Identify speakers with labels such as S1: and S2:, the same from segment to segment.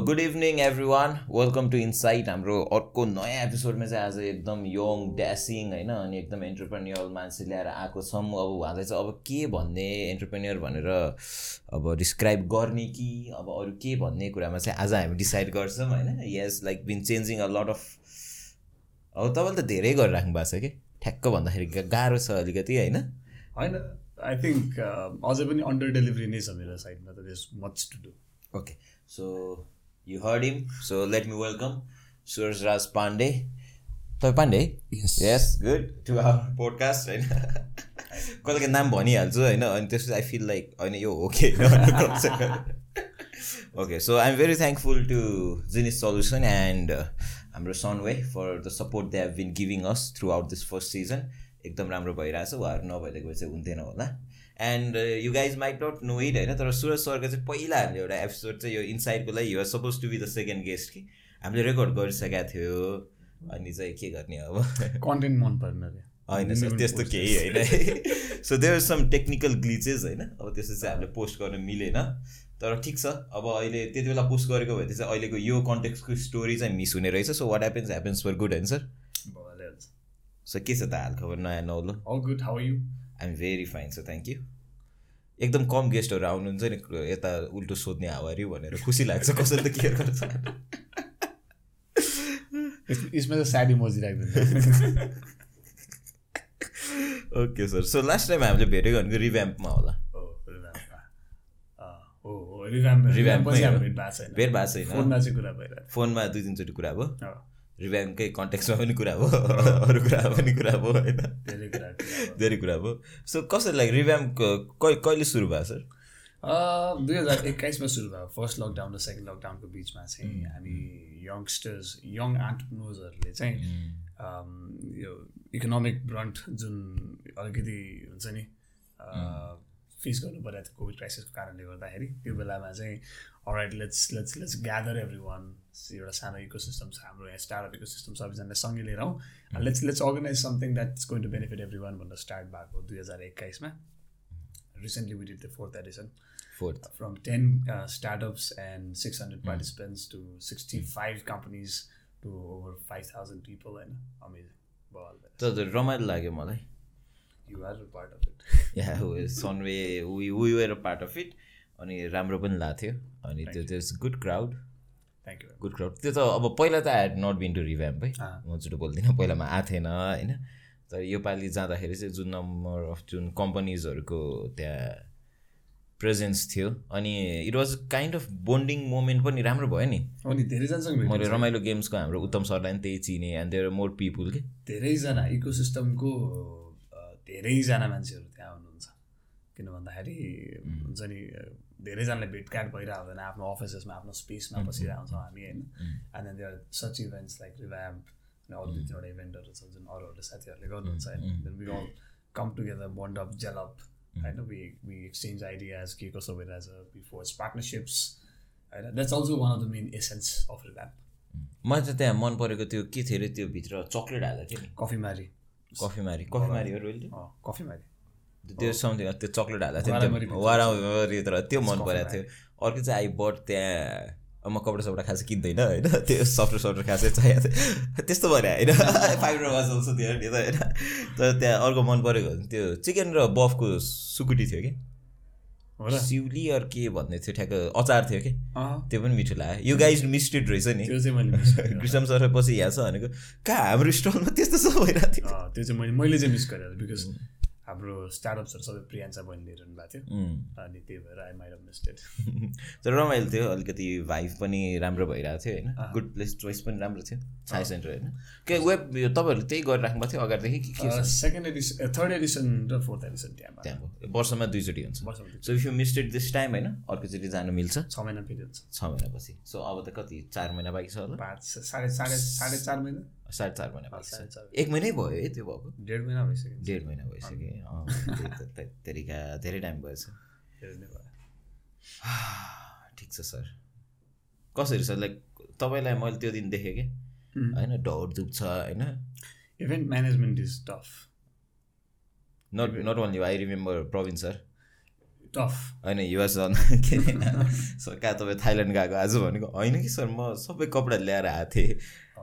S1: Good evening everyone welcome to Insight हाम्रो अर्को नयाँ एपिसोडमा चाहिँ आज एकदम यङ ड्यासिङ होइन अनि एकदम एन्टरप्रेन्यर मान्छे ल्याएर आएको छौँ अब उहाँलाई चाहिँ अब के भन्ने एन्टरप्रेन्यर भनेर अब डिस्क्राइब गर्ने कि अब अरू के भन्ने कुरामा चाहिँ आज हामी डिसाइड गर्छौँ होइन yes like been changing a lot of अब तपाईँले त धेरै गरिराख्नु भएको छ कि ठ्याक्क भन्दाखेरि गा- गाह्रो छ अलिकति होइन
S2: होइन आई थिङ्क अझै पनि अन्डर डेलिभरी नै छ मेरो साइडमा त this much to do
S1: Okay, so you heard him. So let me welcome Suraj Raj Pandey. तपाईँ Pandey
S3: Yes.
S1: Yes good to our podcast होइन कसैको नाम भनिहाल्छु होइन अनि त्यसपछि आई फिल लाइक होइन यो हो कि okay so I am very thankful to Genesis solution and हाम्रो Sunway for the support they have been giving us throughout this first season एकदम राम्रो भइरहेछ उहाँहरू नभइदिएको भए चाहिँ हुन्थेन होला and you guys might not know it होइन तर सुरज सरको चाहिँ पहिला हामीले एउटा एपिसोड चाहिँ यो इन्साइडको लागि you're supposed to be the second guest कि हामीले रेकर्ड गरिसकेका थियो अनि चाहिँ के गर्ने अब
S2: कन्टेन्ट मन पर्न अरे
S1: होइन सर
S2: Minimum
S1: त्यस्तो
S2: post.
S1: केही होइन so there some technical glitches होइन अब त्यस्तो चाहिँ हामीले पोस्ट गर्न मिलेन तर ठिक छ अब अहिले त्यति बेला पोस्ट गरेको भए चाहिँ अहिलेको यो कन्टेक्सको स्टोरी चाहिँ मिस हुने रहेछ so what happens happens for good होइन सर
S2: भइहाल्छ
S1: सो के छ त हाल खबर नयाँ नौलो
S2: how good how you
S1: I am very fine sir thank you एकदम कम गेस्टहरू आउनुहुन्छ नि यता उल्टो सोध्ने हावारी भनेर खुसी लाग्छ कसैले त केयर गर्छ
S2: यसमा त साडी मोजी राखिदिनु
S1: okay sir so last time हामीले भेट्यो भनेको रिभ्याम्पमा होला
S2: हो रिभ्याम्पमा। अँ, हो हो रिभ्याम्प
S1: रिभ्याम्पमै
S2: रिभ्याम्पपछि
S1: हो।
S2: हामी भेट भएको
S1: भेट भएको छैन
S2: छैन फोनमा चाहिँ कुरा भइरहेको
S1: फोनमा दुई तिनचोटि कुरा भयो
S2: छ। अँ,
S1: रिभ्याम्पकै कन्ट्याक्समा पनि कुरा भयो अरू कुरामा पनि कुरा भयो होइन
S2: धेरै कुरा
S1: धेरै कुरा भयो सो कसरी लाग्यो रिभ्याम्प कै कहिले सुरु भयो सर
S2: Ah, दुई हजार एक्काइसमा सुरु भयो फर्स्ट लकडाउन र सेकेन्ड लकडाउनको बिचमा चाहिँ हामी यङ्स्टर्स यङ एन्टरप्रिनर्सहरूले चाहिँ um, यो इकोनोमिक ब्रन्ट जुन अलिकति हुन्छ नि फेस गर्नु परेको थियो कोभिड क्राइसिसको कारणले गर्दाखेरि त्यो बेलामा चाहिँ alright let's let's let's gather everyone एउटा सानो इकोसिस्टम छ हाम्रो यहाँ स्टार्टअप इकोसिस्टम सबैजनालाई सँगै लिएर आउँ let's let's organize something that's going to benefit everyone भनेर स्टार्ट भएको दुई हजार एक्काइसमा recently with the fourth edition
S1: fourth
S2: from 10 uh, startups and 600 participants to 65 companies to over 5,000 people. And amazing. Well,
S1: तर रमाइलो लाग्यो मलाई
S2: you are a part of it.
S1: Yeah Sunway we we were a part of it अनि राम्रो पनि लाग्थ्यो अनि त्यो त्यो good crowd
S2: Thank you. very
S1: good crowd त्यो त अब पहिला त I had not been to Revamp है
S2: अँ।
S1: म छिटो बोल्दिनँ पहिलामा आएको थिएन होइन तर योपालि जाँदाखेरि चाहिँ जुन नम्बर अफ जुन कम्पनीजहरूको त्यहाँ प्रेजेन्स थियो अनि it was kind of bonding moment पनि राम्रो भयो नि
S2: much. अनि धेरैजनासँग
S1: मैले
S2: भेटेँ
S1: रमाइलो गेम्सको हाम्रो उत्तम सरलाई पनि त्यही चिने एन्ड देयर मोर पिपुल के
S2: धेरैजना इकोसिस्टमको धेरैजना मान्छेहरू त्यहाँ हुनुहुन्छ किन भन्दाखेरि हुन्छ नि अ, धेरैजनाले भेटघाट भइरहेको हुँदैन आफ्नो अफिसेसमा आफ्नो स्पेसमा बसिरहेको छौँ हामी होइन and then there such events like Revamp अनि अरू दुई तिनवटा इभेन्टहरू छ जुन अरू अरू साथीहरूले गर्नुहुन्छ होइन then we all come together bond up gel up होइन वी वी एक्सचेन्ज आइडियाज के कसो भइरहेछ वी फोर्स पार्टनरसिप्स होइन that's also one of the main essence of Revamp
S1: मलाई त त्यहाँ मन परेको त्यो के थियो अरे त्यो भित्र चक्लेट हाल्दा थियो नि
S2: कफीमारी
S1: कफीमारी कफीमारी हो रोइल
S2: अँ, कफीमारी
S1: त्यो समथिङ त्यो चक्लेट हाल्दा थियो नि
S2: वारामरी
S1: त्यो वारामरी तर त्यो मन परेको थियो अर्को चाहिँ आई बट त्यहाँ अब म कपडा सपडा खासै किन्दैन होइन त्यो सफ्टर सफ्टर खासै चाहिएको थियो त्यस्तो भने होइन फाइबर वाज अल्सो थियो नि त होइन तर त्यहाँ अर्को मन परेको हो भने त्यो चिकन र बफको सुकुटी थियो कि
S2: हो र
S1: सिउली अरू के भन्ने थियो ठ्याक्क अचार थियो कि
S2: अँ,
S1: त्यो पनि मिठो लाग्यो यो गाइज मिस्टेड रहेछ नि
S2: त्यो चाहिँ मैले मिस गरेँ
S1: कृष्ण सर पछि यहाँ छ भनेको कहाँ हाम्रो स्टलमा त्यस्तो सब भइरहेको थियो
S2: अँ, त्यो चाहिँ मैले मैले चाहिँ मिस गरेँ बिकज हाम्रो स्टार्टअप्सहरू सबै प्रियांशा बहिनीले हेरिरहनु भएको थियो
S1: उम्.
S2: अनि त्यही भएर आई माइट मिस्टेड
S1: तर रमाइलो थियो अलिकति भाइभ पनि राम्रो भइरहेको थियो होइन गुड प्लेस चोइस पनि राम्रो थियो साई सेन्टर होइन के वेब यो तपाईँहरूले त्यही गरिराख्नु भएको थियो अगाडिदेखि कि के छ
S2: सेकेन्ड एडिसन थर्ड एडिसन र फोर्थ एडिसन त्यहाँ भयो।
S1: त्यहाँको वर्षमा दुईचोटि हुन्छ
S2: वर्षमा दुई-
S1: so if you missed this time होइन अर्कोचोटि जानु मिल्छ
S2: छ महिना फेरि हुन्छ
S1: छ महिनापछि सो अब त कति चार महिना बाँकी छ होला
S2: पाँच साढे साढे साढे चार महिना
S1: साढे चार महिना बाँकी
S2: साढे
S1: छ
S2: चार
S1: एक महिनै भयो है त्यो भएको
S2: डेढ महिना भइसक्यो
S1: डेढ महिना भइसक्यो अँ, त्यही त, त- तरिका धेरै टाइम भएछ
S2: धेरै नै भयो।
S1: ठिक छ सर कसरी सर लाइक तपाईँलाई मैले त्यो दिन देखेँ कि
S2: उम्.
S1: होइन ढौर दुख्छ होइन
S2: event management is tough
S1: not not only I remember Prabin sir
S2: tough
S1: होइन युवा सर के अरे सर कहाँ तपाईँ थाइल्यान्ड गएको आज भनेको होइन कि सर म सबै कपडा ल्याएर आएको थिएँ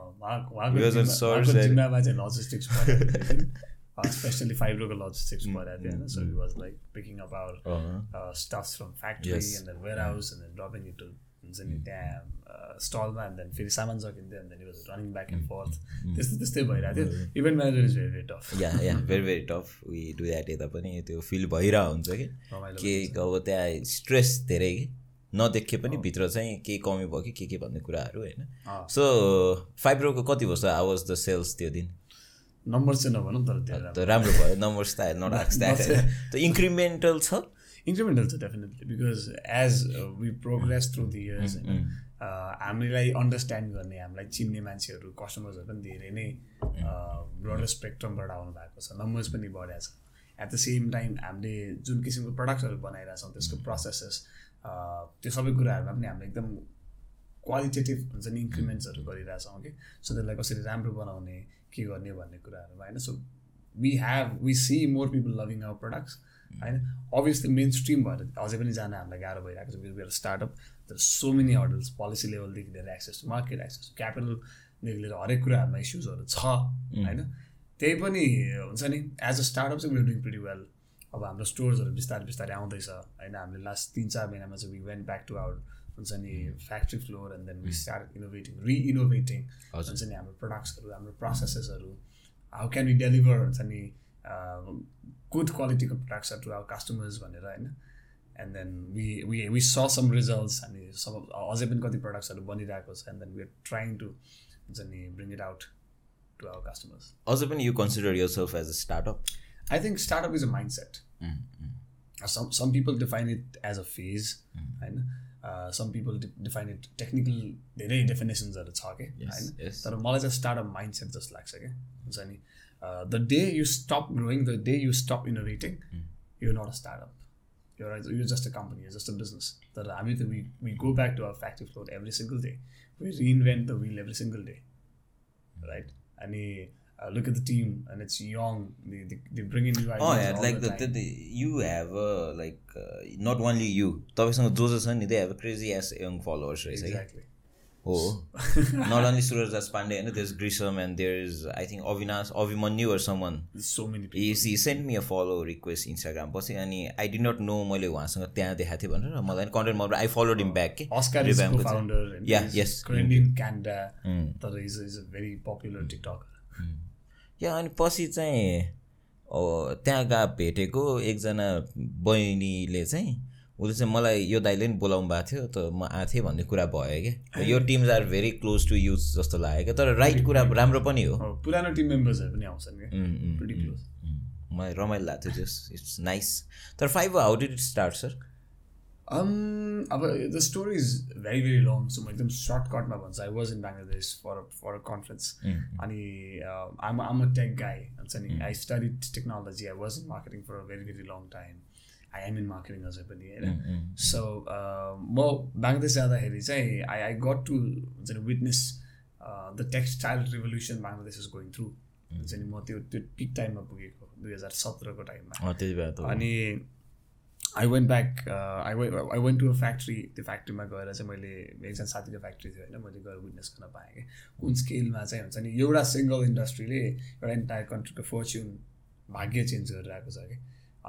S2: उहाँको
S1: Because of
S2: जिम्मा-
S1: swords
S2: उहाँको
S1: and-
S2: जिम्मामा चाहिँ लजिस्टिक्स स्पेसली फाइब्रोको लजिस्टिक्स परेको थियो होइन so he was like picking up our stuffs from factory
S1: Yes.
S2: And then warehouse and then dropping it हुन्छ नि त्यहाँ स्टलमा एन्ड देन फेरि सामान सकिन्थ्यो and then was running back and forth त्यस्तो त्यस्तै भइरहेको थियो event manager is very very tough
S1: yeah yeah very very tough we do that यता पनि त्यो फिल भइरहेको हुन्छ कि
S2: रमाइलो
S1: केही अब त्यहाँ स्ट्रेस धेरै कि नदेखे पनि भित्र चाहिँ केही कमी भयो कि के के भन्ने कुराहरू होइन
S2: अँ।
S1: सो फाइब्रोको कति वर्ष आवाज द सेल्स त्यो दिन
S2: नम्बर चाहिँ नभनौँ तर त्यो राम्रो
S1: त राम्रो भयो नम्बर्स त नट आएको त इन्क्रिमेन्टल छ
S2: इन्क्रिमेन्टल छ definitely because as we progress through the
S1: Mm.
S2: Years होइन अ, हामीलाई अन्डरस्ट्यान्ड गर्ने हामीलाई चिन्ने मान्छेहरू कस्टमर्सहरू पनि धेरै नै ब्रडर स्पेक्ट्रमबाट आउनु भएको छ नम्बर्स पनि बढिया छ एट द सेम टाइम हामीले जुन किसिमको प्रडक्ट्सहरू बनाइरहेछौँ त्यसको प्रोसेसेस त्यो सबै कुराहरूमा पनि हामीले एकदम क्वालिटेटिभ हुन्छ नि इन्क्रिमेन्ट्सहरू गरिरहेछौँ कि सो त्यसलाई कसरी राम्रो बनाउने के गर्ने भन्ने कुराहरूमा होइन so we have we see more people loving our products होइन अभियसली मेन स्ट्रिम भएर अझै पनि जान हामीलाई गाह्रो भइरहेको छ बिकज स्टार्टअप तर सो मेनी हर्डल्स पोलिसी लेभलदेखि लिएर access to market access to क्यापिटलदेखि लिएर हरेक कुराहरूमा इस्युजहरू छ होइन त्यही पनि हुन्छ नि एज अ स्टार्टअप चाहिँ we're doing pretty वेल अब हाम्रो स्टोर्सहरू बिस्तारै बिस्तारै आउँदैछ होइन हामीले लास्ट तिन चार महिनामा चाहिँ we went back to our हुन्छ नि factory floor and then we start innovating reinnovating
S1: हजुर
S2: हुन्छ नि हाम्रो प्रडक्ट्सहरू हाम्रो प्रोसेसेसहरू हाउ क्यान यु डेलिभर हुन्छ नि um, गुड क्वालिटीको प्रडक्ट्सहरू टु आवर कस्टमर्स भनेर होइन and then we we we स सम रिजल्ट्स अनि सम अझै पनि कति प्रडक्ट्सहरू बनिरहेको छ and then we are trying to हुन्छ नि bring it out to our customers
S1: अझ पनि you consider yourself as a startup
S2: I think startup is a mindset some some people define it as a phase होइन Uh, some people de- define it technical धेरै डेफिनेसन्सहरू छ कि
S1: Yes,
S2: होइन
S1: yes.
S2: तर मलाई चाहिँ startup mindset जस्तो लाग्छ कि हुन्छ नि the day you stop growing the day you stop innovating you not a startup you you just a company just a business तर हामी त we we go back to our factory floor every single day we reinvent the wheel every single day right अनि look at the team and it's young bring in
S1: like you have a like not only you तपाईँसँग जो जो छ नि they have crazy ass young followers रहेछ क्या
S2: exactly
S1: हो not only Suraj Das Pandey होइन देयर इज ग्रिसम and there is I think Avinash Abhimanyu or Saman
S2: so many
S1: she send me a follow request Instagram पछि अनि आई डि नट नो मैले उहाँसँग त्यहाँ देखाएको थिएँ भनेर मलाई कन्टेन्ट मन आई फलोड इम ब्याक के
S2: Oscar is
S1: Revamped it.
S2: co-founder and
S1: Yeah,
S2: he's
S1: yes.
S2: currently in Canada.
S1: Mm.
S2: But he's, he's a very popular TikToker.
S1: या अनि पछि चाहिँ अ, त्यहाँ गएको भेटेको एकजना बहिनीले चाहिँ उसले चाहिँ मलाई यो दाइले नि बोलाउनु भएको थियो त म आएको थिएँ भन्ने कुरा भयो क्या यो teams are very close to youth जस्तो लाग्यो क्या तर राइट कुरा राम्रो पनि हो
S2: Oh, पुरानो टिम मेम्बर्सहरू पनि आउँछन् क्या
S1: उम्, उम्,
S2: pretty
S1: उम्,
S2: close.
S1: उम्। मलाई रमाइलो लाग्थ्यो जस इट्स नाइस तर five how did it start sir
S2: Um, अब the story is very very long so म एकदम सर्टकटमा भन्छु I was in Bangladesh for for a conference अनि um, I'm I'm a tech guy हुन्छ नि
S1: Hmm.
S2: I study technology I was in marketing for a very very long time I am in marketing अझै पनि होइन so म बङ्गलादेश जाँदाखेरि चाहिँ I I got to हुन्छ नि witness the textile revolution Bangladesh is going through हुन्छ नि म त्यो त्यो पिक टाइममा पुगेको दुई हजार सत्रको टाइममा
S1: त्यति बेला त
S2: अनि I went back I way I went to a factory त्यो फ्याक्ट्रीमा गएर चाहिँ मैले एकजना साथीको फ्याक्ट्री थियो होइन मैले गएर विटनेस गर्न पाएँ कि कुन स्केलमा चाहिँ हुन्छ नि एउटा सिङ्गल इन्डस्ट्रीले एउटा इन्टायर कन्ट्रीको फर्च्युन भाग्य चेन्ज गरेर आएको छ कि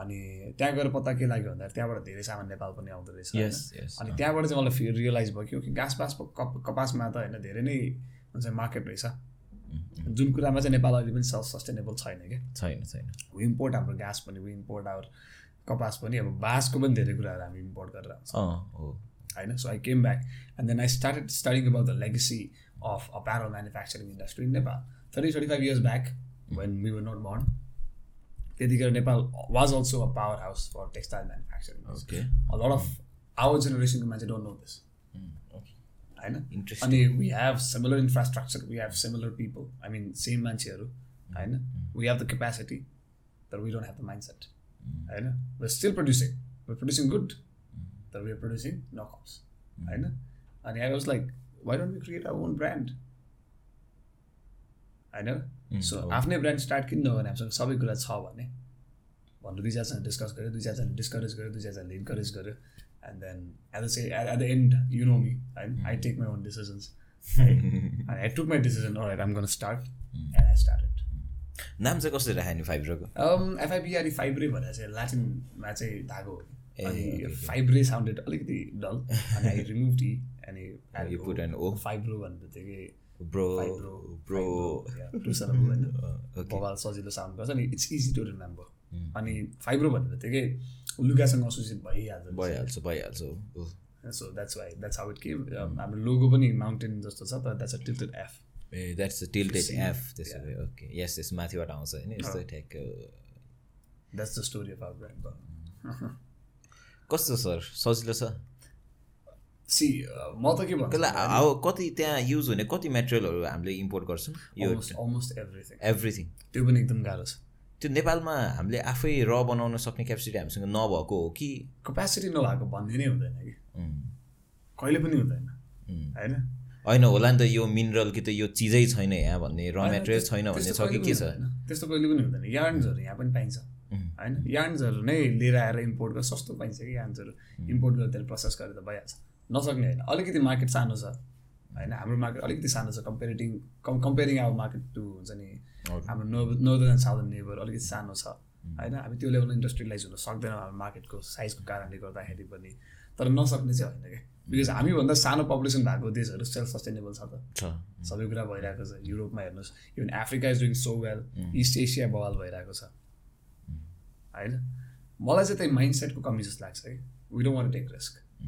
S2: अनि त्यहाँ गएर पत्ता के लाग्यो भन्दाखेरि त्यहाँबाट धेरै सामान नेपाल पनि आउँदो रहेछ होइन?
S1: यस यस
S2: अनि त्यहाँबाट चाहिँ मलाई फेरि रियलाइज भयो कि ओके घाँस पास कप कपासमा त होइन धेरै नै हुन्छ मार्केट रहेछ जुन कुरामा चाहिँ नेपाल अहिले पनि सेल्फ सस्टेनेबल छैन क्या
S1: छैन छैन
S2: वी इम्पोर्ट हाम्रो घाँस पनि वी इम्पोर्ट आवर कपास पनि अब बाँसको पनि धेरै कुराहरू हामी इम्पोर्ट गरेर आउँछ
S1: अँ हो
S2: होइन so I came back and then I started studying about the legacy of apparel manufacturing industry in Nepal thirty thirty five years back when we were not born त्यतिखेर Nepal was also a powerhouse for textile manufacturing
S1: okay
S2: a lot of our जेनेरेसनको मान्छे don't know this होइन
S1: interest
S2: अनि we have similar infrastructure we have similar people I mean same मान्छेहरू होइन we have the capacity तर we don't have the mindset होइन we are still producing we producing good तर we are producing knockoffs होइन अनि I was like why don't you create our own brand होइन so
S1: हो। Mm,
S2: आफ्नै brand start किन नगर्ने हामीसँग सबै कुरा छ भने भन्नु दुई चारजना डिस्कस गऱ्यो दुई चारजनाले डिस्करेज गऱ्यो दुई चारजनाले इन्करेज गऱ्यो and then at the say at the end you know me
S1: Mm.
S2: I I take my own decisions and I took my decision right I'm gonna start and I started
S1: नाम चाहिँ कसरी राख्यो नि फाइब्रोको
S2: Um, एफआइबिआरई फाइब्रे भनेर चाहिँ ल्याटिनमा चाहिँ धागो हो अनि फाइब्रे साउन्डेड अलिकति डल अनि आई रिमुभ टी अनि
S1: You put an Oh, O.
S2: Fibro भन्नु बित्तिकै
S1: ब्रो
S2: फाइब्रो
S1: ब्रो ओके
S2: भवाल सजिलो साउन्ड गर्छ अनि इट्स इजी टु रिमेम्बर अनि फाइब्रो भन्नु बित्तिकै लुगासँग असोसिएट भइहाल्छ
S1: भइहाल्छ भइहाल्छ हो।
S2: So that's why that's how it के Um, हाम्रो लोगो पनि माउन्टेन जस्तो छ तर that's a tilted F
S1: a that's a tilted F त्यसो भए ओके यस यस माथिबाट आउँछ होइन यस्तो ठ्याक्क
S2: that's the story of our brand
S1: कस्तो सर सजिलो छ
S2: सी uh, म त के भन्छु
S1: कसलाई हाउ कति त्यहाँ युज हुने कति मेटेरियलहरू हामीले इम्पोर्ट गर्छौँ यो
S2: अलमोस्ट एभ्रिथिङ
S1: एभ्रिथिङ
S2: त्यो पनि एकदम गाह्रो छ
S1: त्यो नेपालमा हामीले आफै र बनाउन सक्ने क्यापेसिटी हामीसँग नभएको हो कि
S2: कपेसिटी नभएको भन्ने नै हुँदैन कि
S1: उम्,
S2: कहिले पनि हुँदैन
S1: उम्।
S2: होइन
S1: होइन होला नि त यो मिनरल कि त यो चिजै छैन यहाँ भन्ने र मेटेरियल छैन भन्ने छ
S2: त्यस्तो
S1: कि
S2: कहिले
S1: के
S2: पनि
S1: छ
S2: हुँदैन। त्यस्तो कहिले पनि हुँदैन यार्न्सहरू यहाँ पनि पाइन्छ
S1: उम्,
S2: होइन यार्न्सहरू नै लिएर आएर इम्पोर्ट गर्छ सस्तो पाइन्छ कि यार्न्सहरू इम्पोर्ट गरेर त्यसलाई प्रोसेस गरेर त भइहाल्छ नसक्ने होइन अलिकति मार्केट सानो छ होइन हाम्रो मार्केट अलिकति सानो छ कम्पेरिटिङ कम कम्पेरिङ अब मार्केट टु हुन्छ नि
S1: Okay.
S2: हाम्रो north northern and southern neighbour अलिकति सानो छ होइन हामी त्यो लेभल इन्डस्ट्रियलाइज हुन सक्दैनौँ हाम्रो मार्केटको साइजको कारणले गर्दाखेरि पनि तर नसक्ने चाहिँ होइन क्या बिकज हामीभन्दा सानो पपुलेसन भएको देशहरू सेल्फ सस्टेनेबल छ त
S1: छ
S2: सबै कुरा भइरहेको छ युरोपमा हेर्नुहोस् even Africa is doing so well East Asia बवाल भइरहेको छ होइन मलाई चाहिँ त्यही माइन्ड सेटको कमी जस्तो लाग्छ है we don't want take risk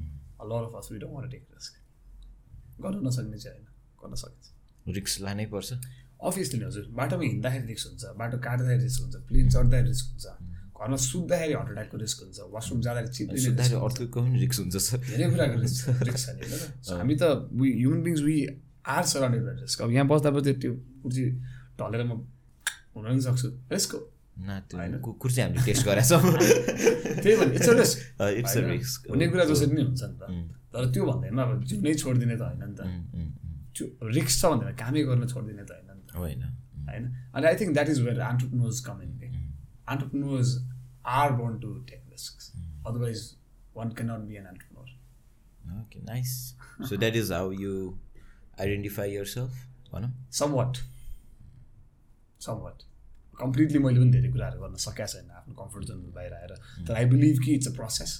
S2: lot of us we don't want take risk गर्न नसक्ने चाहिँ होइन गर्न सकिन्छ
S1: रिक्स लानै पर्छ
S2: अफिसले नै हजुर बाटोमा हिँड्दाखेरि रिस्क हुन्छ बाटो काट्दाखेरि रिस्क हुन्छ प्लेन चढ्दाखेरि रिस्क हुन्छ घरमा सुत्दाखेरि हार्ट अट्याकको रिस्क हुन्छ वासरुम जाँदाखेरि चिप्लिने risk
S1: सुत्दाखेरि अर्थको पनि रिक्स हुन्छ सर
S2: धेरै कुराको रिस्क रिस्क छ नि होइन त? So, हामी त we human beings we are surrounded by risk अब यहाँ बस्दा बस्दै त्यो कुर्सी ढलेर म हुन पनि सक्छु रिस्क हो
S1: न त्यो कु- कुर्सी हामीले टेस्ट गरेका छौँ
S2: त्यही भने it's risk
S1: it's a risk
S2: हुने कुरा जसरी नै हुन्छ नि त तर त्यो भन्दैमा अब जुनै छोडिदिने त होइन नि त त्यो रिस्क छ भन्दैमा कामै गर्न छोडिदिने त होइन नि त
S1: होइन
S2: होइन अनि I think that is where entrepreneurs come in के entrepreneurs are born to take risk otherwise one can not be an entrepreneur
S1: okay nice so that is how you identify yourself भनौँ
S2: somewhat समवाट completely मैले पनि धेरै कुराहरू गर्न सकेको छैन आफ्नो कम्फर्ट जोन बाहिर आएर तर आई बिलिभ कि it's a process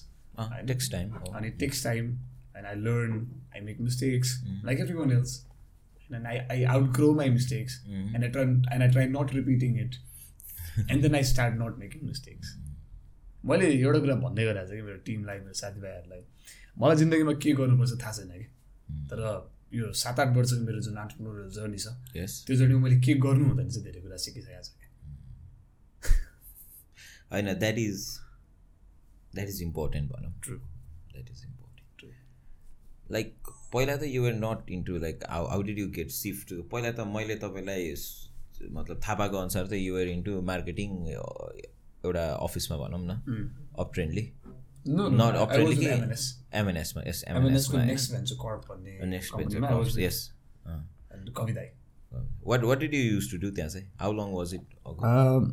S1: takes time
S2: अनि takes time and I learn I make mistakes like everyone else and I I outgrow my mistakes and I try and I try not repeating it and then I start not making mistakes मैले एउटा कुरा भन्दै गरेको छु कि मेरो टिमलाई मेरो साथीभाइहरूलाई मलाई जिन्दगीमा के गर्नुपर्छ थाहा छैन कि तर यो सात आठ वर्षको मेरो जुन आन्टरप्रिनोर जर्नी छ
S1: यस
S2: त्यो जर्नीमा मैले के गर्नु हुँदैन चाहिँ धेरै कुरा सिकिसकेको छु कि
S1: होइन that is that is important भनौँ
S2: true
S1: that is important
S2: True.
S1: Like पहिला त you were not into like how how did you get shift पहिला त मैले तपाईँलाई यस- मतलब थाहा पाएको अनुसार त यु वर इन्टु मार्केटिङ एउटा अफिसमा भनौँ न अप ट्रेन्डली नट अप ट्रेन्डली कि एमएनएसमा यस एमएनएसमा
S2: नेक्स्ट भेन्चर कर्प भन्ने
S1: नेक्स्ट
S2: company मा I was
S1: venture
S2: with-
S1: yes Ah,
S2: and कविताई
S1: what what did you use to do त्यहाँ चाहिँ how long was it
S2: Uh, Um,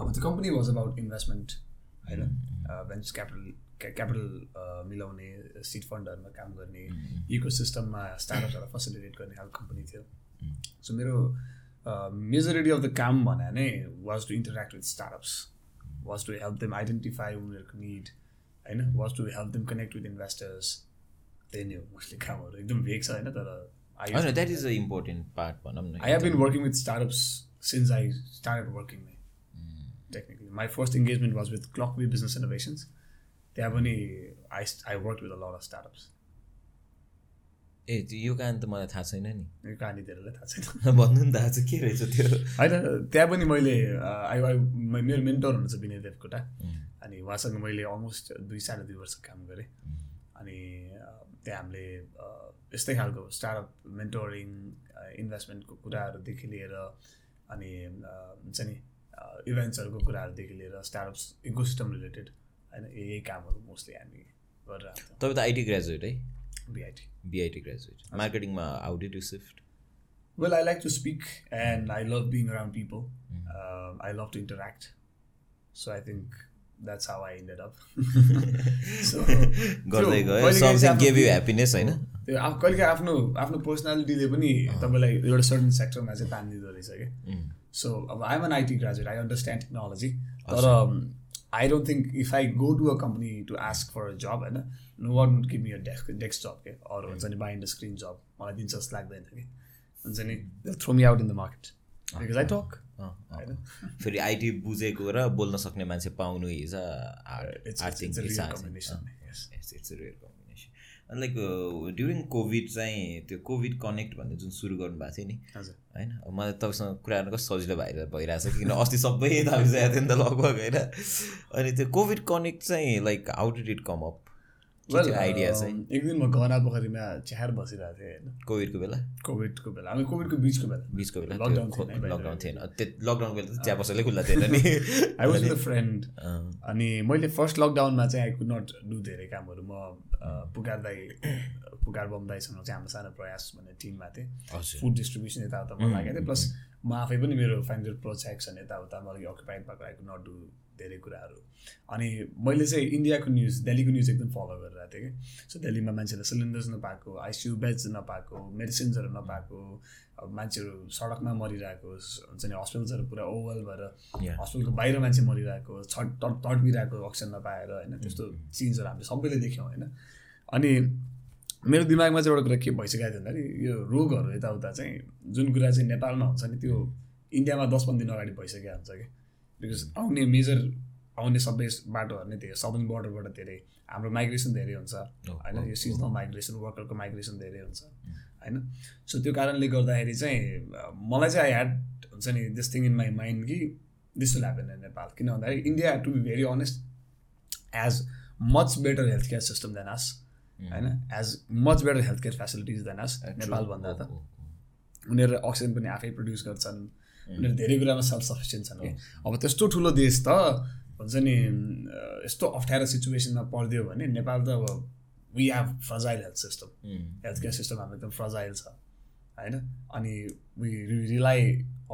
S2: अब त्यो कम्पनी वाज अबाउट इन्भेस्टमेन्ट होइन भेन्चर क्यापिटल क्यापिटल मिलाउने सिट फन्डहरूमा काम uh, गर्ने इको सिस्टममा स्टार्टअपहरूलाई फेसिलिटेट गर्ने खालको कम्पनी थियो सो मेरो uh, मेजोरिटी अफ द काम भने नै was to interact with startups was to help them identify उनीहरूको निड होइन was to help them connect with investors त्यही नै हो मोस्टली कामहरू एकदम भेग छ होइन तर I used
S1: होइन
S2: to-
S1: that is a important part भनौँ
S2: I
S1: न
S2: have been working with startups since I started working.
S1: mm.
S2: Technically, my first engagement was with Clockweed Business Innovations. They have only I, st- I worked with a lot of startups.
S1: ए त्यो यो कारण त मलाई थाहा छैन नि
S2: यो कहानीतिरलाई थाहा छैन
S1: भन्नु नि थाहा छ के रहेछ त्यो
S2: होइन त्यहाँ पनि मैले अ, आई आई म- मेरो मेन्टर हुनुहुन्छ विनय देवकोटा
S1: Mm,
S2: अनि उहाँसँग मैले अलमोस्ट दुई साढे दुई वर्ष काम गरेँ
S1: mm.
S2: अनि अ, त्यहाँ हामीले अ, यस्तै खालको स्टार्टअप मेन्टोरिङ uh, इन्भेस्टमेन्टको कुराहरूदेखि लिएर अनि अ, हुन्छ नि uh, इभेन्ट्सहरूको कुराहरूदेखि लिएर स्टार्टअप इकोसिस्टम रिलेटेड होइन यही कामहरू मोस्टली हामी गरेर आएको
S1: तपाईँ त आइटी ग्रेजुएट है
S2: बिआइटी
S1: बिआइटी ग्रेजुएट मार्केटिङमा how did you shift
S2: Well, I like to speak and I love being around people. Um, I love to interact. So I think that's how I indeed up so
S1: गर्दै गयो something gave you happiness होइन
S2: त्यो आफ कहिले आफ्नो आफ्नो पर्सनालिटीले पनि तपाईँलाई एउटा सर्टन सेक्टरमा चाहिँ तान दिँदो रहेछ क्या सो अब I am an IT graduate I understand technology तर I don't think if I go to a company to ask for a job होइन no what would give me a desk desk job के अरू हुन्छ नि bind screen जब मलाई दिन्छ जस्तो लाग्दैन कि हुन्छ नि throw me out in the market because I talk होइन
S1: फेरि आइटी बुझेको र बोल्न सक्ने मान्छे पाउनु is a
S2: combination
S1: like during COVID चाहिँ त्यो कोभिड कनेक्ट भन्ने जुन सुरु गर्नुभएको थियो नि
S2: हजुर
S1: होइन अब मलाई तपाईँसँग कुरा गर्नु कस्तो सजिलो भएर भइरहेको छ किन अस्ति सबै थाहा भइसकेको थियो नि त लगभग होइन अनि त्यो कोभिड कनेक्ट चाहिँ like how did it come up
S2: well
S1: idea चाहिँ
S2: uh, एक दिन म गहना पोखरीमा च्याहार बसिरहेको थिएँ होइन
S1: कोभिडको बेला
S2: कोभिडको बेला हामी कोभिडको बिचको बेला
S1: बिचको बेला
S2: Lockdown
S1: त्यो
S2: थिएन है,
S1: लकडाउन थिएन त्यो लकडाउनको बेला त चिया पसलले खुल्ला थिएन नि
S2: आई वाज विथ फ्रेन्ड
S1: अँ,
S2: अनि मैले फर्स्ट लकडाउनमा चाहिँ आई कुड नट डु धेरै कामहरू म अ, पुकार दाई पुकार बम दाईसँग चाहिँ हाम्रो सानो प्रयास भन्ने टिममा थिएँ
S1: हजुर
S2: फुड डिस्ट्रिब्युसन यताउता मन लागेको थियो प्लस म आफै पनि मेरो फाइनेन्सियल प्रोजेक्सन यताउतामा अलिक अक्युपाइड भएको आई कुड नट डु धेरै कुराहरू अनि मैले चाहिँ इन्डियाको न्युज दिल्लीको न्युज एकदम फलो गरिरहेको थिएँ कि सो दिल्लीमा मान्छेहरूले सिलिन्डर्स नपाएको आइसियु बेड्स नपाएको मेडिसिन्सहरू नपाएको अब मान्छेहरू सडकमा मरिरहेको हुन्छ नि हस्पिटल्सहरू पुरा ओभल भएर
S1: Yeah.
S2: हस्पिटलको बाहिर मान्छे मरिरहेको छट तड- तडपिरहेको अक्सिजन नपाएर होइन त्यस्तो सिन्सहरू हामीले सबैले देख्यौँ होइन अनि मेरो दिमागमा चाहिँ एउटा कुरा के भइसकेको थियो भन्दाखेरि यो रोगहरू यताउता चाहिँ जुन कुरा चाहिँ नेपालमा हुन्छ नि त्यो इन्डियामा दस पन्ध्र दिन अगाडि भइसकेको हुन्छ कि बिकज आउने मेजर आउने सबै बाटोहरू नै धेरै साउदर्न बोर्डरबाट धेरै हाम्रो माइग्रेसन धेरै हुन्छ होइन
S1: oh,
S2: यो सिजनल माइग्रेसन वर्करको माइग्रेसन धेरै हुन्छ होइन सो त्यो कारणले गर्दाखेरि चाहिँ अ, मलाई चाहिँ आई ह्याड हुन्छ नि this thing in my mind कि त्यस्तो लाग्दैन नेपाल किन भन्दाखेरि India to be very honest as much better health care system than us होइन as much better health care facilities than us
S1: oh,
S2: नेपालभन्दा त उनीहरू अक्सिजन पनि आफै प्रड्युस गर्छन्
S1: oh, mm,
S2: उनीहरू धेरै कुरामा सेल्फ सफिसियन्ट छन् कि अब त्यस्तो ठुलो देश त हुन्छ नि अ, यस्तो अप्ठ्यारो सिचुएसनमा परिदियो भने नेपाल त अब we have fragile health system
S1: mm,
S2: health care system हाम्रो एकदम फ्रजाइल छ होइन अनि we rely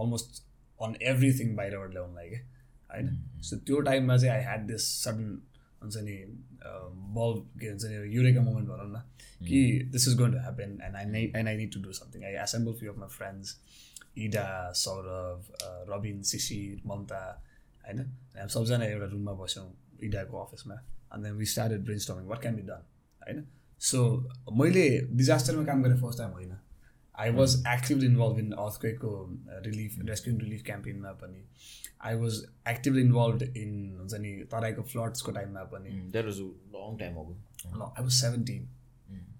S2: almost on everything बाहिरबाट ल्याउनलाई क्या होइन सो त्यो टाइममा चाहिँ आई ह्याड दिस सडन हुन्छ नि बल्ब के भन्छ नि युरेका मोमेन्ट भनौँ न कि this is going to happen and I knew and I need to do something I assemble few of my friends Ida Saurabh Rabin Shishir Mamata होइन हामी सबजना एउटा रुममा बस्यौँ इडाको अफिसमा अन्त we started brainstorming what can be done होइन सो मैले डिजास्टरमा काम गरेँ फर्स्ट टाइम होइन I was actively involved in अर्थक्वेकको रिलिफ रेस्क्यु रिलिफ क्याम्पेनमा पनि I was actively involved in हुन्छ नि तराईको फ्लड्सको टाइममा पनि
S1: that was long time ago
S2: I was seventeen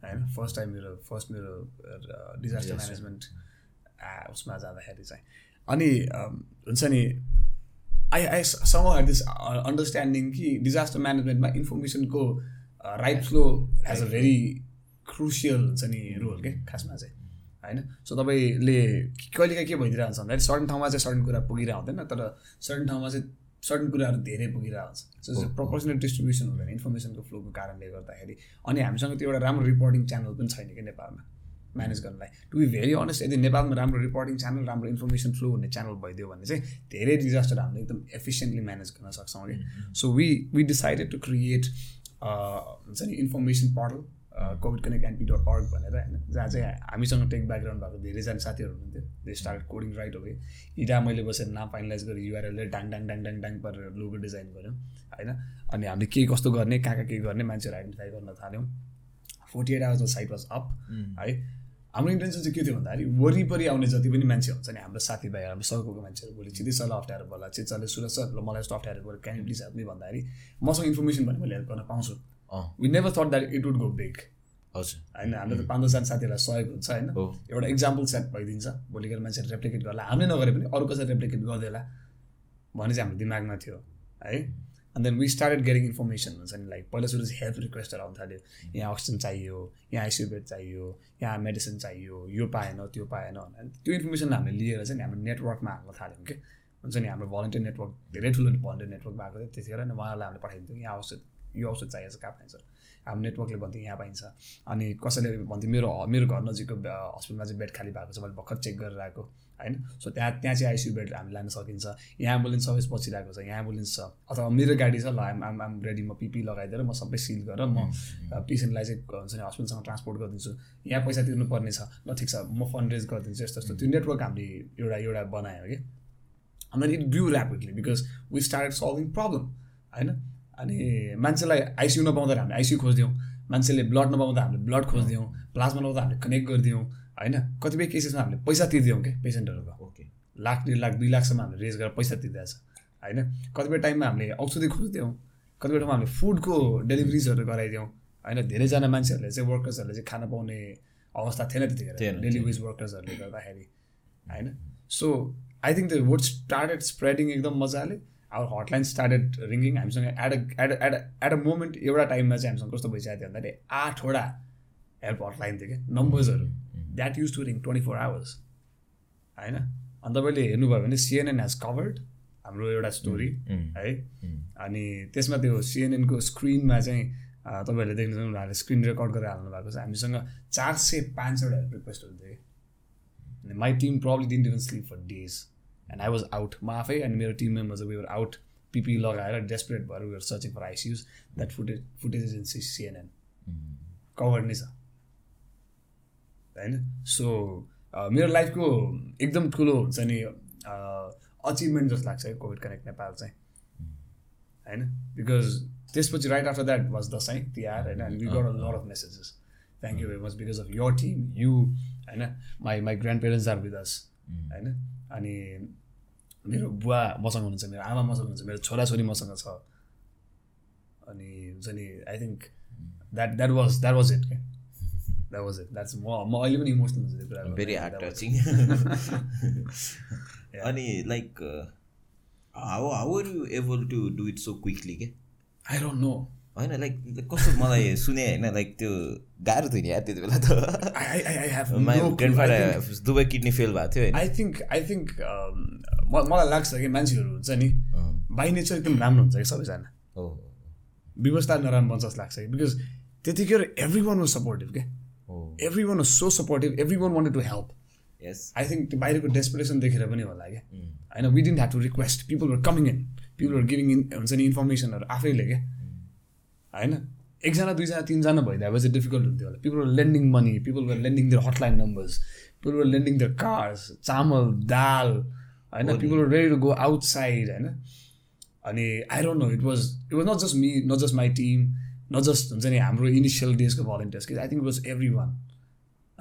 S2: होइन फर्स्ट टाइम मेरो फर्स्ट मेरो uh, डिजास्टर म्यानेजमेन्ट uh, उसमा जाँदाखेरि चाहिँ अनि um, हुन्छ नि I I some had this understanding uh, कि डिजास्टर म्यानेजमेन्टमा इन्फर्मेसनको right flow as a very crucial हुन्छ नि रोल के खासमा चाहिँ होइन सो तपाईँले कहिलेकाहीँ के भइदिरहेको हुन्छ भन्दाखेरि सर्टन ठाउँमा चाहिँ सर्टन कुरा पुगिरहेको हुँदैन तर सर्टन ठाउँमा चाहिँ सर्टन कुराहरू धेरै पुगिरहेको हुन्छ सो प्रपोर्सनल डिस्ट्रिब्युसन हुँदैन इन्फर्मेसनको फ्लोको कारणले गर्दाखेरि अनि हामीसँग त्यो एउटा राम्रो रिपोर्टिङ च्यानल पनि छैन कि नेपालमा म्यानेज गर्नलाई टु बी भेरी अनेस्ट यदि नेपालमा राम्रो रिपोर्टिङ च्यानल राम्रो इन्फर्मेसन फ्लो हुने च्यानल भइदियो भने चाहिँ धेरै डिजास्टर हामीले एकदम एफिसियन्टली म्यानेज गर्न सक्छौँ कि so we we decided to create हुन्छ नि information portal COVID connect NP dot org भनेर होइन जहाँ चाहिँ हामीसँग टेक ब्याकग्राउन्ड भएको धेरैजना साथीहरू हुनुहुन्थ्यो दे स्टार्ट कोडिङ राइट हो कि हिटा मैले बसेर नाम फाइनलाइज गरेँ युआरएलले डाङ डाङ डाङ डाङ डाङ पारेर लोगो डिजाइन गऱ्यौँ होइन अनि हामीले के कस्तो गर्ने कहाँ कहाँ के गर्ने मान्छेहरू आइडेन्टिफाई गर्न थाल्यौँ फोर्टी एट आवर्समा साइट वाज अप है हाम्रो इन्टेन्सन चाहिँ के थियो भन्दाखेरि वरिपरि आउने जति पनि मान्छे हुन्छ नि हाम्रो साथीभाइ हाम्रो सर्कलको मान्छेहरू भोलि छिटै सरलाई अप्ठ्यारो बोला चिचाले सुरज सर ल मलाई यस्तो अप्ठ्यारो बोला क्यान प्लिज हेल्प मी भन्दाखेरि मसँग इन्फर्मेसन भने मैले हेल्प गर्न पाउँछु
S1: अँ
S2: we never thought that it would go big
S1: हजुर
S2: होइन हाम्रो त पाँच दसजना साथीहरूलाई सहयोग हुन्छ होइन
S1: हो
S2: एउटा इक्जाम्पल सेट भइदिन्छ भोलि गएर मान्छेले रेप्लिकेट गर्ला हामीले नगरे पनि अरू कसैले रेप्लिकेट गरिदिएला भन्ने चाहिँ हाम्रो दिमागमा थियो है and then we started getting information हुन्छ नि लाइक पहिला सुरु हेल्प रिक्वेस्टहरू आउनु थाल्यो यहाँ अक्सिजन चाहियो यहाँ आइसियु बेड चाहियो यहाँ मेडिसिन चाहियो यो पाएन त्यो पाएन भनेर त्यो इन्फर्मेसन हामीले लिएर चाहिँ नि हाम्रो नेटवर्कमा हाल्न थाल्यौँ कि हुन्छ नि हाम्रो भलन्टियर नेटवर्क धेरै ठुलो भलन्टियर नेटवर्क भएको थियो त्यतिखेर नि उहाँहरूलाई हामीले पठाइदिन्थ्यो यहाँ औषध यो औषध चाहिएको छ कहाँ पाइन्छ हाम्रो नेटवर्कले भन्थ्यो यहाँ पाइन्छ अनि कसैले भन्थ्यो मेरो मेरो घर नजिकको हस्पिटलमा चाहिँ बेड खाली भएको छ मैले भर्खर चेक गरेर आएको होइन सो त्यहाँ त्यहाँ चाहिँ आइसियु बेड हामी लान सकिन्छ यहाँ एम्बुलेन्स सर्भिस बसिरहेको छ यहाँ एम्बुलेन्स छ अथवा मेरो गाडी छ ल आम आम आम रेडी म पिपी लगाइदिएर म सबै सिल गरेर म पेसेन्टलाई चाहिँ हुन्छ नि हस्पिटलसँग ट्रान्सपोर्ट गरिदिन्छु यहाँ पैसा तिर्नुपर्ने छ ल ठिक छ म फन्ड रेज गरिदिन्छु यस्तो यस्तो त्यो नेटवर्क हामीले एउटा एउटा बनायो कि अनि it grew rapidly because we start solving problem होइन अनि मान्छेलाई आइसियु नपाउँदा हामीले आइसियु खोजिदियौँ मान्छेले ब्लड नपाउँदा हामीले ब्लड खोजिदियौँ प्लाज्मा नपाउँदा हामीले कनेक्ट गरिदियौँ होइन कतिपय केसेसमा हामीले पैसा तिरिदियौँ क्या पेसेन्टहरूको
S1: ओके
S2: लाख डेढ लाख दुई लाखसम्म हामीले रेज गरेर पैसा तिरिरहेछ होइन कतिपय टाइममा हामीले औषधि खोजिदियौँ कतिपय ठाउँमा हामीले फुडको डेलिभरिजहरू गराइदियौँ होइन धेरैजना मान्छेहरूले चाहिँ वर्कर्सहरूले चाहिँ खान पाउने अवस्था थिएन
S1: थिएन,
S2: त्यतिखेर
S1: थिएन।
S2: डेली वेज वर्कर्सहरूले गर्दाखेरि होइन so I think the word started spreading एकदम मजाले आवर हटलाइन स्टार्टेड रिङ्गिङ हामीसँग at a at at at a moment एउटा टाइममा चाहिँ हामीसँग कस्तो भइसकेको थियो भन्दाखेरि आठवटा हेल्प हटलाइन थियो क्या नम्बर्सहरू that use to ring twenty four hours होइन अनि तपाईँले हेर्नुभयो भने सिएनएन हेज कभर्ड हाम्रो एउटा स्टोरी
S1: Mm-hmm.
S2: है अनि त्यसमा त्यो सिएनएनको स्क्रिनमा चाहिँ अ, तपाईँहरूले देख्नुहुन्छ उनीहरूले स्क्रिन रेकर्ड गरेर हाल्नु भएको छ हामीसँग चार सय पाँचवटा हेल्प रिक्वेस्टहरू थियो कि। अनि my team problem didn't even sleep for days and I was out म आफै अनि मेरो team members we were out PP लगाएर डेस्परेट भएर we were searching for ICUs that footage footage agency CNN cover नै छ होइन सो अ, मेरो लाइफको एकदम ठुलो हुन्छ नि अचिभमेन्ट जस्तो लाग्छ है कोभिड कनेक्ट नेपाल चाहिँ होइन बिकज त्यसपछि right after that was Dashain Tihar होइन and we got a lot of messages thank you very much because of your team you होइन my my grandparents are with us होइन अनि मेरो बुवा मसँग हुनुहुन्छ मेरो आमा मसँग हुनुहुन्छ मेरो छोराछोरी मसँग छ अनि हुन्छ नि I think that that was that was it क्या द्याट वाज इट द्याट्स म म अहिले पनि इमोसनल हुन्छु त्यो कुरा
S1: भेरी हार्ड टचिङ अनि like how how are you able to do it so quickly के
S2: आई डोन्ट नो
S1: होइन लाइक कस्तो मलाई सुने होइन लाइक त्यो गाह्रो थियो नि यार त्यति बेला त
S2: I I I have
S1: my grandfather दुवै किडनी फेल भएको थियो
S2: I think I think um, म मलाई लाग्छ कि मान्छेहरू हुन्छ नि
S1: होइन
S2: बाई नेचर एकदम राम्रो हुन्छ कि सबैजना
S1: हो
S2: व्यवस्था नराम्रो हुन्छ जस्तो लाग्छ कि बिकज त्यतिखेर एभ्री वान वाज सपोर्टिभ क्या
S1: हो
S2: everyone was so supportive everyone wanted to help
S1: yes
S2: I think त्यो बाहिरको डेस्परेसन देखेर पनि होला क्या होइन we didn't have to request people were coming in people were giving in हुन्छ नि इन्फर्मेसनहरू आफैले क्या होइन एकजना दुईजना तिनजना भइदिएपछि डिफिकल्ट हुन्थ्यो होला people were lending money people were lending their hotline numbers people were lending their cars चामल दाल होइन people were ready to go outside होइन अनि I don't know it was it was not just me not just my team not just हुन्छ नि हाम्रो initial डेजको volunteers कि I think it was everyone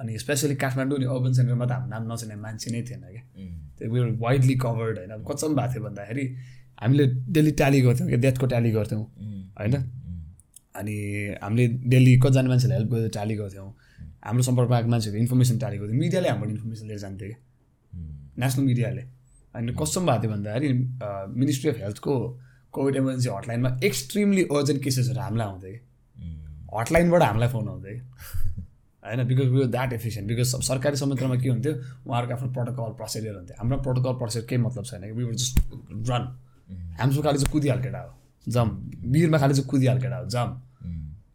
S2: अनि स्पेसली काठमाडौँ अनि urban सेन्टरमा त हाम्रो नाम नचिने मान्छे नै थिएन क्या त्यो वी वाइडली कभर्ड होइन अब कतिसम्म भएको थियो भन्दाखेरि हामीले डेली ट्याली गर्थ्यौँ कि डेथको ट्याली गर्थ्यौँ होइन अनि हामीले डेली कतिजना मान्छेलाई हेल्प गरेर ट्याली गर्थ्यौँ हाम्रो सम्पर्कमा आएको मान्छेहरू इन्फर्मेसन ट्याली गर्थ्यो मिडियाले हाम्रो इन्फर्मेसन लिएर जान्थ्यो क्या नेसनल मिडियाले अनि कतिसम्म भएको थियो भन्दाखेरि मिनिस्ट्री अफ हेल्थको कोभिड इमर्जेन्सी हटलाइनमा एक्सट्रिमली अर्जेन्ट केसेसहरू हामीलाई आउँथ्यो कि हटलाइनबाट हामीलाई फोन आउँथ्यो कि होइन because we that efficient because सब सरकारी संयन्त्रमा के हुन्थ्यो उहाँहरूको आफ्नो प्रोटोकल प्रोसिडियर हुन्थ्यो हाम्रो प्रोटोकल प्रोसिडियर केही मतलब छैन कि वी वर जस्ट रन हाम्रो खालि चाहिँ कुदिहाल केटा हो जम बिरमा खालि चाहिँ कुदिहाल केटा हो जम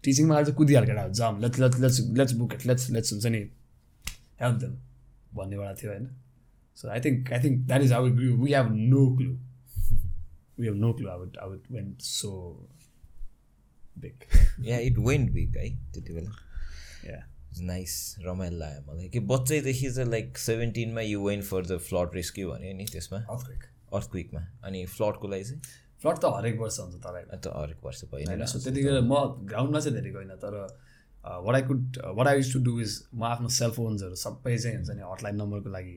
S2: टिचिङमा खालि चाहिँ कुदिहाल केटा हो जम let's let's let's let's book it let's let's हुन्छ नि हेल्प देम भन्नेवाला थियो होइन so I think I think that is our grew we have no clue we have no clue our our went so big
S1: yeah it went big है त्यति बेला
S2: या
S1: nice रमाइलो लाग्यो मलाई कि बच्चैदेखि चाहिँ लाइक सेभेन्टिनमा you went for the flood rescue भन्यो नि त्यसमा
S2: अर्थक्वेक
S1: अर्थक्विकमा अनि फ्लडको लागि चाहिँ
S2: फ्लड त हरेक वर्ष हुन्छ तपाईँको
S1: अन्त हरेक वर्ष भयो
S2: होइन
S1: नि
S2: सो त्यतिखेर म ग्राउन्डमा चाहिँ धेरै गइनँ तर what I could what I used to do is म आफ्नो सेलफोन्सहरू सबै चाहिँ हुन्छ नि हटलाइन नम्बरको लागि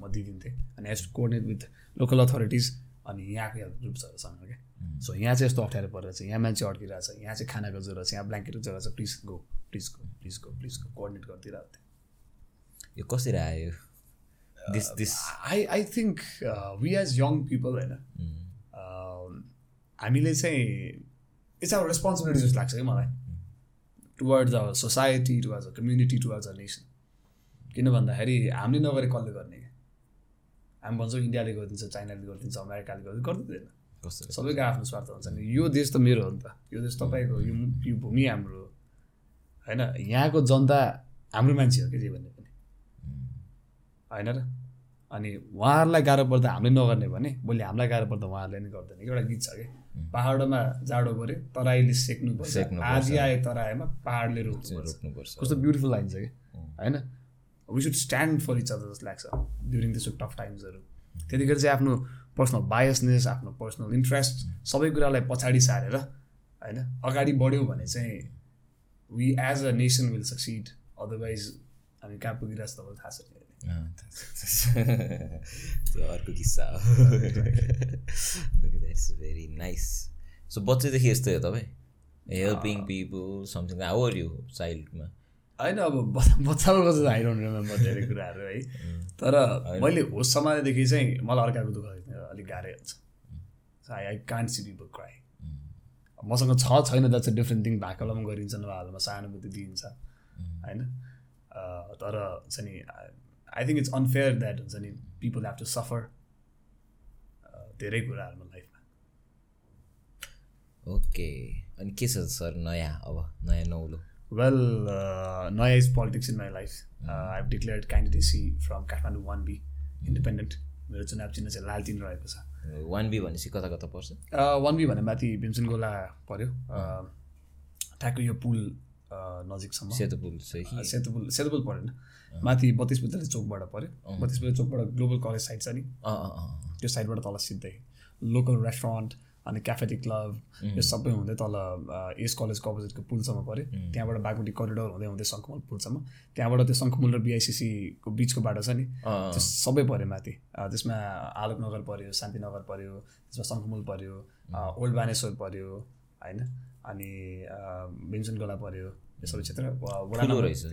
S2: म दिइदिन्थेँ अनि has to coordinate with local authorities अनि यहाँको हेल्थ ग्रुप्सहरूसँग क्या सो यहाँ चाहिँ यस्तो अप्ठ्यारो परेर छ यहाँ मान्छे अड्किरहेको छ यहाँ चाहिँ खानाको जरुरत छ यहाँ ब्ल्याङ्केटको जरुरत छ please go please go please go please go coordinate गरिदिरहेको थिएँ
S1: यो कसरी आयो this this
S2: I I think we as young people होइन अ, um, हामीले चाहिँ इट्स आवर रेस्पोन्सिबिलिटी जस्तो लाग्छ कि मलाई towards our society towards a community towards a nation किन भन्दाखेरि हामीले नगरे कसले गर्ने क्या हामी भन्छौँ इन्डियाले गरिदिन्छ चाइनाले गरिदिन्छ अमेरिकाले गरिदिन्छ गरिदिँदैन
S1: कसरी
S2: सबैको आफ्नो स्वार्थ हुन्छ नि यो देश त मेरो हो नि त यो देश तपाईँको यो मु- यो भूमि हाम्रो हो होइन यहाँको जनता हाम्रो मान्छे हो कि जे भन्ने पनि होइन र अनि उहाँहरूलाई गाह्रो पर्दा हामीले नगर्ने भने भोलि हामीलाई गाह्रो पर्दा उहाँहरूले नि गर्दैन एउटा गीत छ कि पाहाडमा जाडो पऱ्यो तराईले सेक्नुपर्छ
S1: सेक्नुपर्छ।
S2: आधी आयो तराईमा पाहाडले
S1: Hmm,
S2: रोक्नुपर्छ
S1: रोक्नुपर्छ
S2: कस्तो ब्युटिफुल लाइन छ कि होइन we should stand for each other जस्तो लाग्छ ड्युरिङ त्यसो टफ टाइम्सहरू त्यतिखेर चाहिँ आफ्नो पर्सनल बायसनेस आफ्नो पर्सनल इन्ट्रेस्ट सबै कुरालाई पछाडि सारेर होइन अगाडि बढ्यौँ भने चाहिँ we as a nation will succeed otherwise हामी कहाँ पुगिरहेछ तपाईँलाई थाहा छैन
S1: अँ, थाहा छ, थाहा छ। त्यो अर्को किस्सा हो okay that's very nice so बच्चैदेखि यस्तै हो तपाईँ helping people something how are you चाइल्डमा
S2: होइन अब बच्चा बच्चाको बच्चा आई डोन्ट रिमेम्बर धेरै कुराहरू है
S1: Hmm,
S2: तर मैले होस समाएदेखि चाहिँ मलाई अर्काको दुःख देख्न अलिक गाह्रै हुन्छ I I can't see people cry
S1: hmm,
S2: मसँग छ छैन द्याट्स अ डिफ्रेन्ट थिङ भएको बेलामा गरिन्छ नभए हालमा सहानुभूति दिइन्छ
S1: hmm.
S2: होइन अ, तर हुन्छ नि I think it's unfair that हुन्छ नि पिपल हेभ टु सफर धेरै कुराहरूमा लाइफमा
S1: ओके अनि के छ सर नयाँ अब नयाँ नौलो
S2: वेल नयाँ is politics in my life I have declared candidacy from Kathmandu one B independent मेरो चुनाव चिन्ह चाहिँ लालचिन रहेको छ
S1: वान बी भनेपछि कता कता पर्छ
S2: वान बी भने माथि भीमसेन गोला पऱ्यो अ, ठ्याक्कै यो पुल अ, नजिकसम्म
S1: सेतो पुल सही
S2: सेतो पुल सेतो पुल परेन माथि बत्तिस बुद्धले चोकबाट पऱ्यो बत्तिस बुद्धले चोकबाट ग्लोबल कलेज साइड छ नि
S1: अँ अँ अँ
S2: त्यो साइडबाट तल सिधै लोकल रेस्टुरेन्ट अनि क्याफेटी क्लब यो सबै हुँदै तल अ, एस कलेजको अपोजिटको पुलसम्म पऱ्यो त्यहाँबाट बागमती करिडोर हुँदै हुँदै शङ्खुमल पुलसम्म त्यहाँबाट त्यो शङ्खुमल र बिआइसिसीको बिचको बाटो छ नि
S1: अँ,
S2: त्यो सबै पऱ्यो माथि अ, त्यसमा आलोकनगर पऱ्यो शान्तिनगर पऱ्यो त्यसमा शङ्खुमूल पऱ्यो अ, ओल्ड बानेश्वर पऱ्यो होइन अनि अ, भीमसेन गोला पऱ्यो यो सबै क्षेत्र व- वडा
S1: ठुलो
S2: नम्बर
S1: रहेछ।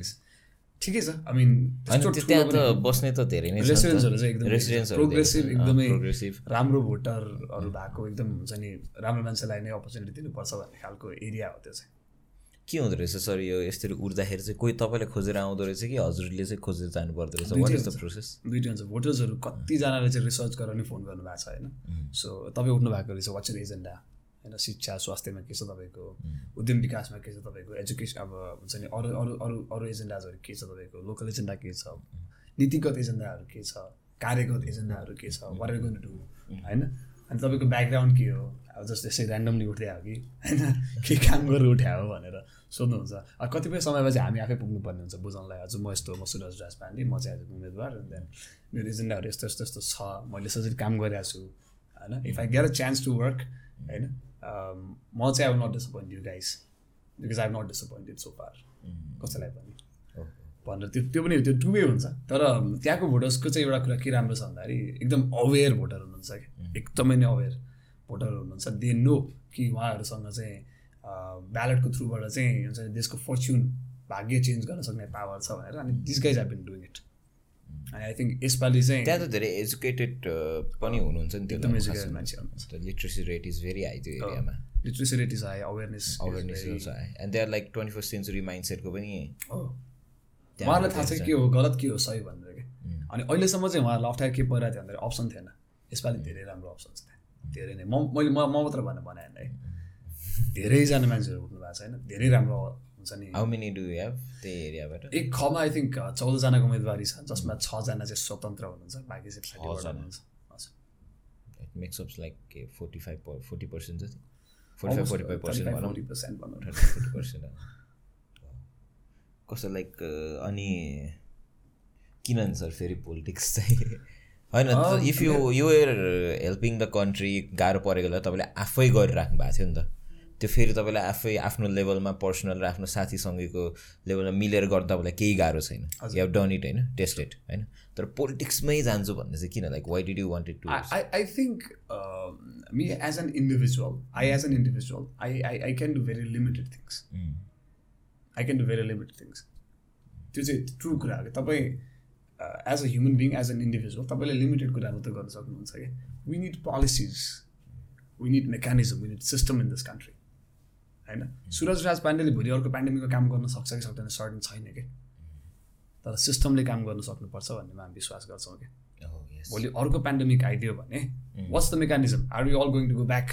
S2: 31 ठिकै छ आई मिन
S1: अनि त्यो- त्यहाँ त बस्ने त धेरै नै
S2: रेसिडेन्सहरू चाहिँ एकदम
S1: रेसिडेन्सहरू
S2: प्रोग्रेसिभ एकदमै
S1: प्रोग्रेसिभ
S2: राम्रो भोटरहरू भएको एकदम हुन्छ नि राम्रो मान्छेलाई नै अपर्च्युनिटी दिनुपर्छ भन्ने खालको एरिया हो त्यो चाहिँ
S1: के हुँदो रहेछ सर यो यसरी उड्दाखेरि चाहिँ कोही तपाईँले खोजेर आउँदो रहेछ कि हजुरले चाहिँ खोजेर जानु पर्दो रहेछ वाट इज द प्रोसेस
S2: दुइटै हुन्छ भोटर्सहरू कतिजनाले चाहिँ रिसर्च गरेर नि फोन गर्नुभएको छ होइन सो तपाईँ उठ्नु भएको रहेछ वाट्स एजेन्डा होइन शिक्षा स्वास्थ्यमा के छ तपाईँको उद्यम विकासमा के छ तपाईँको एजुकेसन अब हुन्छ नि अरू अरू अरू अरू एजेन्डाजहरू के छ तपाईँको लोकल एजेन्डा के छ नीतिगत एजेन्डाहरू के छ कार्यगत एजेन्डाहरू के छ वरेर गर्नु डु होइन अनि तपाईँको ब्याकग्राउन्ड के हो अब जस्तो यसै ऱ्यान्डमली उठ्दै हो कि होइन के काम गरेर उठ्या हो भनेर सोध्नुहुन्छ अब कतिपय समयमा चाहिँ हामी आफै पुग्नुपर्ने हुन्छ बुझाउनलाई हजुर म यस्तो हो, म सुरज राज पाण्डे म चाहिँ आजको उम्मेदवार अनि देन मेरो एजेन्डाहरू यस्तो यस्तो यस्तो छ मैले सजिलो काम गरिरहेको छु होइन if I get a chance to work होइन um, म चाहिँ अब not disappoint you guys because I am not disappointed so far कसैलाई पनि भनेर त्यो त्यो पनि त्यो टुवे हुन्छ तर um, त्यहाँको भोटर्सको चाहिँ एउटा कुरा के राम्रो छ भन्दाखेरि एकदम अवेर भोटर हुनुहुन्छ कि एकदमै नै अवेर भोटरहरू हुनुहुन्छ दे नो कि उहाँहरूसँग चाहिँ ब्यालेटको थ्रुबाट चाहिँ हुन्छ नि देशको फर्च्युन भाग्य चेन्ज गर्न सक्ने पावर छ भनेर अनि this guys have been doing it अनि आई थिङ्क यसपालि चाहिँ
S1: त्यहाँ त धेरै एजुकेटेड पनि हुनुहुन्छ नि
S2: एकदम
S1: त्यो
S2: एजुकेटेड मान्छे हुनुहुन्छ
S1: literacy rate is very high त्यो एरियामा
S2: literacy rate is high awareness
S1: awareness also high and they are like twenty first century mind सेटको पनि त्यहाँ
S2: उहाँहरूलाई oh. थाहा छ के हो गलत के हो सही भनेर कि
S1: Mm.
S2: अनि अहिलेसम्म चाहिँ उहाँहरूलाई अप्ठ्यारो के परिरहेको थियो भन्दाखेरि अप्सन थिएन यसपालि धेरै राम्रो अप्सन छ त्यहाँ धेरै नै म मैले म म मात्र भनेर भने होइन है धेरैजना मान्छेहरू उठ्नु भएको छ होइन धेरै राम्रो हुन्छ नि
S1: how many do you have त्यही एरियाबाट
S2: एक खमा आई थिङ्क चौधजनाको उम्मेदवारी छ जसमा छजना चाहिँ स्वतन्त्र हुनुहुन्छ बाँकी चाहिँ फ्ल्याटिबाट हुनुहुन्छ हजुर।
S1: It makes up like forty five forty percent जति forty
S2: uh,
S1: five forty five percent
S2: 35,
S1: भनौँ
S2: 40% भनौँ न।
S1: फोर्टी पर्सेन्ट कस्तो लाइक अनि किन नि सर फेरि पोलिटिक्स चाहिँ होइन if you you're helping the country गाह्रो परेको बेला तपाईँले आफै गरिराख्नु भएको थियो नि त त्यो फेरि तपाईँले आफै आफ्नो लेभलमा पर्सनल र आफ्नो साथीसँगैको लेभलमा मिलेर गर्दा तपाईँलाई केही गाह्रो छैन यु हेभ डन इट होइन टेस्टेड होइन तर पोलिटिक्समै जान्छु भन्ने चाहिँ किन like why did you wanted to
S2: I, I, I think um, me as an individual, I as an individual, I, I, I can do very limited things.
S1: Mm.
S2: I can do very limited things. त्यो चाहिँ true कुरा हो कि तपाईँ as a human being as an individual तपाईँले limited कुरा मात्रै गर्न सक्नुहुन्छ कि we need policies we need mechanism we need system in this country होइन सुरज राज पाण्डेले भोलि अर्को पेन्डेमिकको काम गर्न सक्छ कि सक्दैन सर्टन छैन कि तर सिस्टमले काम गर्न सक्नुपर्छ भन्नेमा हामी विश्वास गर्छौँ कि भोलि अर्को पेन्डेमिक आइदियो भने what's the mechanism are you all going to go back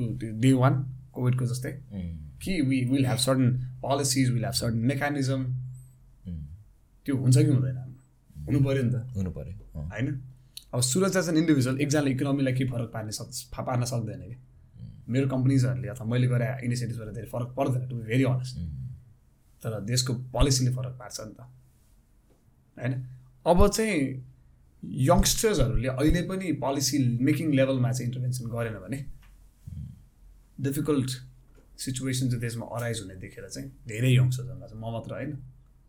S2: to day one कोभिडको जस्तै
S1: Mm,
S2: कि we will have certain policies will have certain mechanism त्यो हुन्छ कि हुँदैन हुनु पऱ्यो नि त
S1: mm. हुनु पऱ्यो
S2: होइन अब सुरज एज एन इन्डिभिजुअल एकजनाले इकोनोमीलाई केही फरक पार्ने सक् पार्न सक्दैन कि मेरो कम्पनीजहरूले अथवा मैले गरे इनिसिएटिभ्सबाट धेरै फरक पर्दैन टु भेरी अनेस्ट तर देशको पोलिसीले फरक पार्छ नि त होइन अब चाहिँ यङ्स्टर्सहरूले अहिले पनि पोलिसी मेकिङ लेभलमा चाहिँ इन्टरभेन्सन गरेन भने डिफिकल्ट सिचुएसन चाहिँ देशमा अराइज हुने देखेर चाहिँ धेरै यङ्स्टर्सहरूलाई चाहिँ म मात्र होइन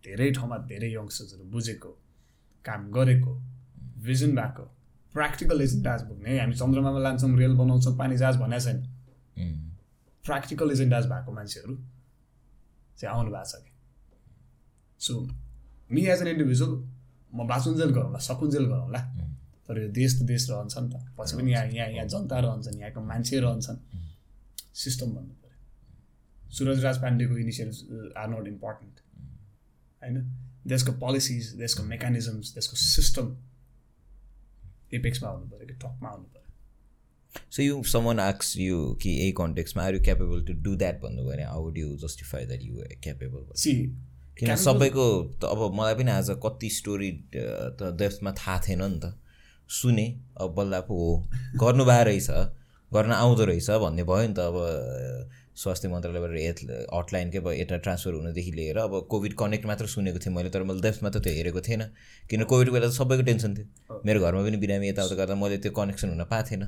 S2: धेरै ठाउँमा धेरै यङ्स्टर्सहरू बुझेको काम गरेको भिजन भएको प्र्याक्टिकल एजेन्डाज बोक्ने हामी चन्द्रमामा लान्छौँ रेल बनाउँछौँ पानी जहाज भनेको छैन
S1: Mm.
S2: प्र्याक्टिकल एजेन्डाज भएको मान्छेहरू चाहिँ आउनु भएको छ कि so me as an individual म बाँचुन्जेल गरौँला सकुन्जेल गरौँला तर यो देश त देश रहन्छ नि त पछि पनि यहाँ यहाँ यहाँ जनता रहन्छन् यहाँको मान्छे रहन्छन् सिस्टम भन्नु पऱ्यो सुरज राज पाण्डेको इनिसिएटिभ आर नट इम्पोर्टेन्ट होइन देशको पोलिसिज देशको मेकानिजम्स देशको सिस्टम एपेक्समा आउनु पऱ्यो कि टपमा आउनु पऱ्यो
S1: so you someone asks you कि यही कन्टेक्समा are you capable to do that भन्नुभयो भने how do you justify that you capable
S2: see
S1: किन सबैको त अब मलाई पनि आज कति स्टोरी त डेफ्थमा थाहा थिएन नि त सुने अब बल्ल पो हो गर्नु भएको रहेछ गर्न आउँदो रहेछ भन्ने भयो नि त अब स्वास्थ्य मन्त्रालयबाट एथ हटलाइनकै भयो यता ट्रान्सफर हुनुदेखि लिएर अब कोभिड कनेक्ट मात्र सुनेको थिएँ मैले तर मैले डेफ्थमा त त्यो हेरेको थिएन किन कोभिडको बेला त सबैको टेन्सन थियो मेरो घरमा पनि बिरामी यताउता गर्दा मैले त्यो कनेक्सन हुन पाएको थिएन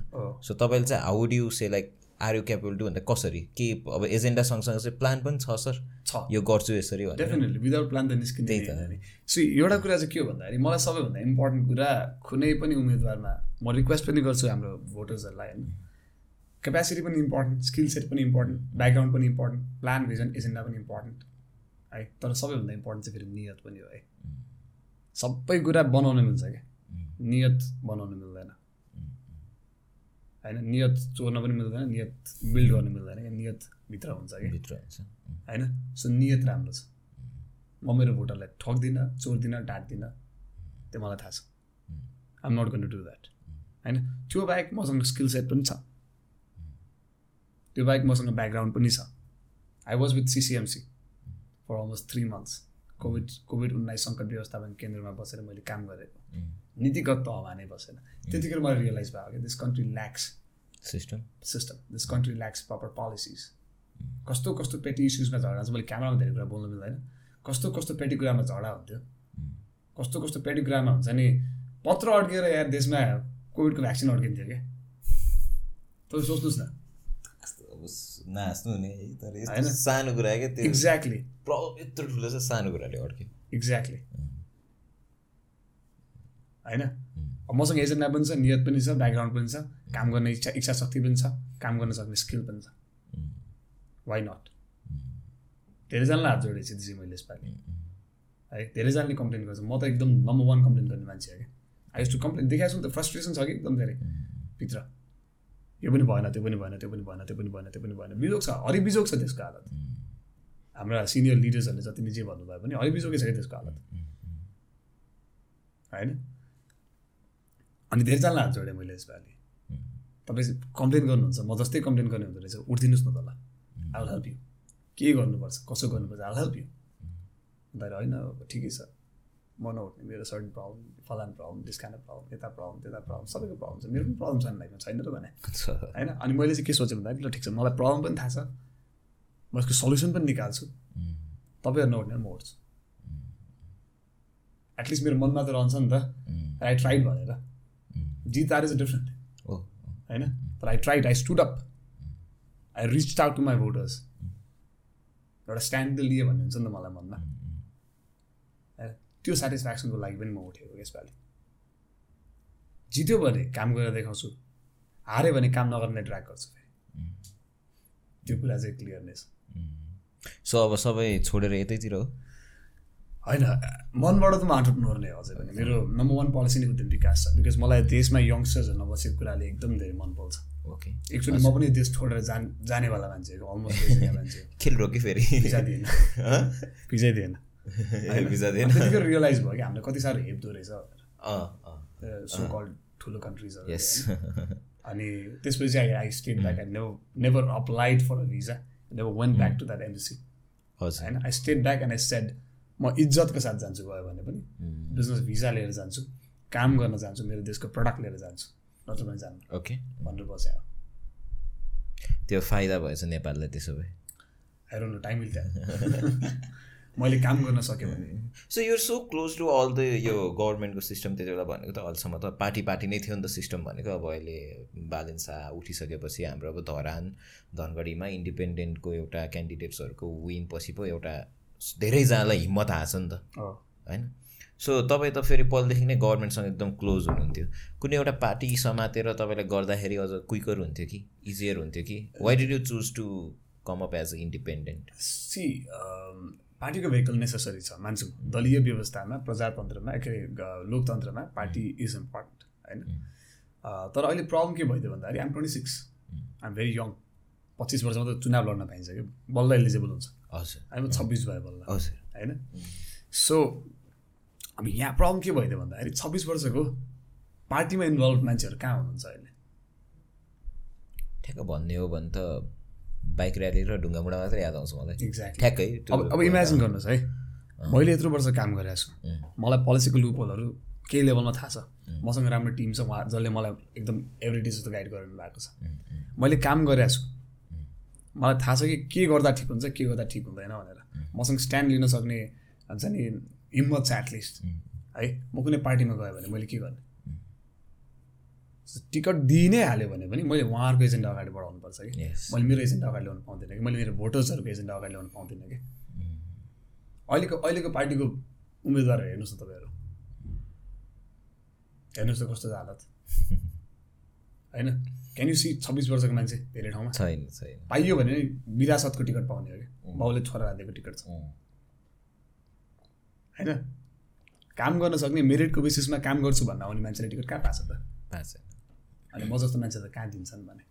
S1: सो तपाईँले चाहिँ how do you say like are you capable to भन्दा कसरी के अब एजेन्डा सँगसँगै चाहिँ प्लान पनि छ सर
S2: छ
S1: यो गर्छु यसरी भनेर
S2: डेफिनेटली विदाउट प्लान त निस्किँदै
S1: त्यही त।
S2: सो एउटा कुरा चाहिँ के हो भन्दाखेरि मलाई सबैभन्दा इम्पोर्टेन्ट कुरा कुनै पनि उम्मेदवारमा म रिक्वेस्ट पनि गर्छु हाम्रो भोटर्सहरूलाई होइन क्यापेसिटी पनि इम्पोर्टेन्ट स्किल सेट पनि इम्पोर्टेन्ट ब्याकग्राउन्ड पनि इम्पोर्टेन्ट प्लान भिजन एजेन्डा पनि इम्पोर्टेन्ट है तर सबैभन्दा इम्पोर्टेन्ट चाहिँ फेरि नियत पनि हो है सबै कुरा बनाउन मिल्छ क्या
S1: Mm.
S2: नियत बनाउनु मिल्दैन होइन नियत चोर्न पनि मिल्दैन नियत बिल्ड गर्नु मिल्दैन क्या नियतभित्र हुन्छ कि
S1: भित्र हुन्छ उम्,
S2: होइन सो नियत राम्रो छ म मेरो भोटरलाई ठग्दिनँ चोर्दिनँ डाँट्दिनँ त्यो मलाई थाहा छ I'm not gonna do that होइन त्यो बाहेक मसँग स्किल सेट पनि छ त्यो बाहेक मसँग ब्याकग्राउन्ड पनि छ I was with CCMC for almost three months covid covid उन्नाइस सङ्कट व्यवस्थापन केन्द्रमा बसेर मैले काम गरेको
S1: उम्,
S2: नीतिगत तहमा नै बसेन त्यतिखेर मलाई रियलाइज भयो कि this country lacks
S1: system
S2: system this country lacks proper policies कस्तो कस्तो पेटी इस्युजमा झगडा हुन्छ मैले क्यामरामा धेरै कुरा बोल्नु मिल्दैन कस्तो कस्तो पेटी कुरामा झगडा हुन्थ्यो कस्तो कस्तो पेटी कुरामा हुन्छ नि पत्र अड्किएर या देशमा कोभिडको भ्याक्सिन अड्किन्थ्यो क्या तपाईँ सोच्नुहोस् न
S1: अब स- नहाँस्नु हुने है, तर यस्तो
S2: होइन।
S1: सानो कुरा क्या त्यो
S2: एक्ज्याक्टली
S1: प्रभाव यत्रो ठुलो छ सानो कुराले अड्क्यो
S2: एक्ज्याक्टली होइन अब मसँग एजेन्डा पनि छ नियत पनि छ ब्याकग्राउन्ड पनि छ काम गर्ने इच्छा इच्छा शक्ति पनि छ काम गर्न सक्ने स्किल पनि छ वाइ नट धेरैजनालाई हात जोडेको छु दिदी मैले यसपालि है धेरैजनाले कम्प्लेन गर्छ म त एकदम नम्बर वान कम्प्लेन गर्ने मान्छे हो कि आई यस्तो कम्प्लेन देखाएको छु नि त फ्रस्ट्रेसन छ कि एकदम धेरै भित्र यो पनि भएन त्यो पनि भएन त्यो पनि भएन त्यो पनि भएन त्यो पनि भएन बिजोग छ हरिबिजोग छ त्यसको हालत हाम्रा सिनियर लिडर्सहरूले जति नै जे भन्नुभयो पनि हरिबिजोगै छ कि त्यसको हालत होइन अनि धेरैजनालाई हात जोडेँ मैले यसपालि तपाईँ चाहिँ कम्प्लेन गर्नुहुन्छ म जस्तै कम्प्लेन गर्ने हुँदो रहेछ उठिदिनुहोस् न तल आई विल हेल्प यु के गर्नुपर्छ कसो गर्नुपर्छ आई विल हेल्प यु अन्तखेरि होइन अब ठिकै छ म नउठ्ने मेरो सर्टन प्रब्लम फलान प्रब्लम डिस्काना प्रब्लम यता प्रब्लम त्यता प्रब्लम सबैको प्रब्लम छ मेरो पनि प्रब्लम छैन लाइफमा छैन त भने होइन अनि मैले चाहिँ के सोचेँ भन्दाखेरि ल ठिक छ मलाई प्रब्लम पनि थाहा छ म यसको सल्युसन पनि निकाल्छु तपाईँहरू नउठ्ने भने म उठ्छु एटलिस्ट मेरो मनमा त रहन्छ नि त आई ट्राइड भनेर जित आर इज डिफ्रेन्ट
S1: हो
S2: होइन तर I tried I stood up I reach out to my voters एउटा स्ट्यान्ड त लिएँ भन्ने हुन्छ नि त मलाई मनमा होइन त्यो सेटिस्फ्याक्सनको लागि पनि म उठेको यसपालि जित्यो भने काम गरेर देखाउँछु हाऱ्यो भने काम नगर्ने ट्र्याक गर्छु फेरि त्यो कुरा चाहिँ क्लियर नै छ
S1: सो अब सबै छोडेर यतैतिर हो
S2: होइन मनबाट त म आँटुट्नुपर्ने नै हो अझै पनि मेरो नम्बर वान पोलिसी नै उद्यम विकास छ बिकज मलाई देशमा यङ्स्टर्सहरू नबसेको कुराले एकदम धेरै मनपर्छ
S1: ओके
S2: एक्चुली म पनि देश छोडेर जान जानेवाला मान्छे हो, अलमोस्ट देशका मान्छे हो।
S1: खेल रोक्यो फेरि
S2: भिजा दिएन
S1: हँ?
S2: भिजै दिएन
S1: ए, भिजा दिएन
S2: त्यतिकै रियलाइज भयो कि हामीलाई कति साह्रो हेप्दो रहेछ
S1: अँ, अँ,
S2: सो कल्ड ठुलो कन्ट्रिजहरू
S1: yes.
S2: अनि त्यसपछि I I stayed
S1: Mm.
S2: Back I never never applied for a visa never went back to that embassy
S1: हजुर
S2: होइन I stayed back and I said म इज्जतको साथ जान्छु गयो भने पनि बिजनेस भिजा लिएर जान्छु काम गर्न जान्छु मेरो देशको प्रडक्ट लिएर जान्छु नत्र भने जानु
S1: ओके
S2: भनेर बसेँ
S1: त्यो फाइदा भएछ नेपाललाई त्यसो भए
S2: आई डोन्ट नो टाइम मिल्छ मैले काम गर्न सकेँ भने
S1: so you're so close to all the यो गभर्मेन्टको सिस्टम त्यति बेला भनेको त अहिलेसम्म त पार्टी पार्टी नै थियो नि त सिस्टम भनेको अब अहिले बालेन शाह उठिसकेपछि हाम्रो अब धरान धनगढीमा इन्डिपेन्डेन्टको एउटा क्यान्डिडेट्सहरूको विन पछि पो एउटा धेरैजनालाई हिम्मत आएछ नि त
S2: अँ।
S1: होइन सो तपाईँ त फेरि पहिलेदेखि नै गभर्मेन्टसँग एकदम क्लोज हुनुहुन्थ्यो कुनै एउटा पार्टी समातेर तपाईँले गर्दाखेरि अझ क्विकर हुन्थ्यो कि इजियर हुन्थ्यो कि why did you choose to come up as independent
S2: see um, पार्टीको भेहिकल नेसेसरी छ मान्छु दलीय व्यवस्थामा प्रजातन्त्रमा के अरे ग- लोकतन्त्रमा पार्टी इज इम्पोर्टेन्ट होइन अ, तर अहिले प्रब्लम के भइदियो भन्दाखेरि I'm twenty six I'm very young पच्चिस वर्षमा त चुनाव लड्न पाइन्छ कि बल्ल एलिजिबल हुन्छ
S1: हजुर
S2: हामी छब्बिस भयो बल्ल
S1: हजुर
S2: होइन सो अब यहाँ प्रब्लम के भइदियो भन्दाखेरि छब्बिस वर्षको पार्टीमा इन्भल्भ मान्छेहरू कहाँ हुनुहुन्छ अहिले
S1: ठ्याक्क भन्ने हो भने त बाइक ऱ्याली र ढुङ्गामुढा मात्रै याद आउँछ मलाई
S2: एक्ज्याक्टली
S1: ठ्याक्कै त्यो-
S2: अब अब इमेजिन गर्नुहोस् है मैले यत्रो वर्ष काम गरेको छु
S1: अँ,
S2: मलाई पोलिसीको लुपलहरू केही लेभलमा थाहा छ मसँग राम्रो टिम छ उहाँ जसले मलाई एकदम एभ्रिडे जस्तो गाइड गर्नु भएको छ
S1: अँ, अँ,
S2: मैले काम गरेको छु मलाई थाहा छ कि के गर्दा ठिक हुन्छ के गर्दा ठिक हुँदैन भनेर मसँग स्ट्यान्ड लिन सक्ने हुन्छ नि हिम्मत छ एटलिस्ट
S1: अँ,
S2: है म कुनै पार्टीमा गयो भने मैले के गर्ने टिकट दिइ नै हाल्यो भने पनि मैले उहाँहरूको एजेन्डा अगाडि बढाउनुपर्छ कि
S1: yes,
S2: मैले मेरो एजेन्डा अगाडि ल्याउनु पाउँदिनँ कि मैले मेरो भोटर्सहरूको एजेन्डा अगाडि ल्याउनु पाउँदिनँ कि
S1: अँ,
S2: अहिलेको अहिलेको पार्टीको उम्मेदवारहरू हेर्नुहोस् न तपाईँहरू हेर्नुहोस् त कस्तो छ हालत होइन क्यान यु सी छब्बिस वर्षको मान्छे धेरै ठाउँमा
S1: छैन छैन
S2: पाइयो भने नि विरासतको टिकट पाउने हो कि बाउले छोरालाई दिएको टिकट छ
S1: अँ,
S2: होइन काम गर्न सक्ने मेरिटको बेसिसमा काम गर्छु भन्न आउने मान्छेले टिकट कहाँ पाएको छ त
S1: थाहा छैन
S2: अनि म जस्तो मान्छे त कहाँ दिन्छन् भने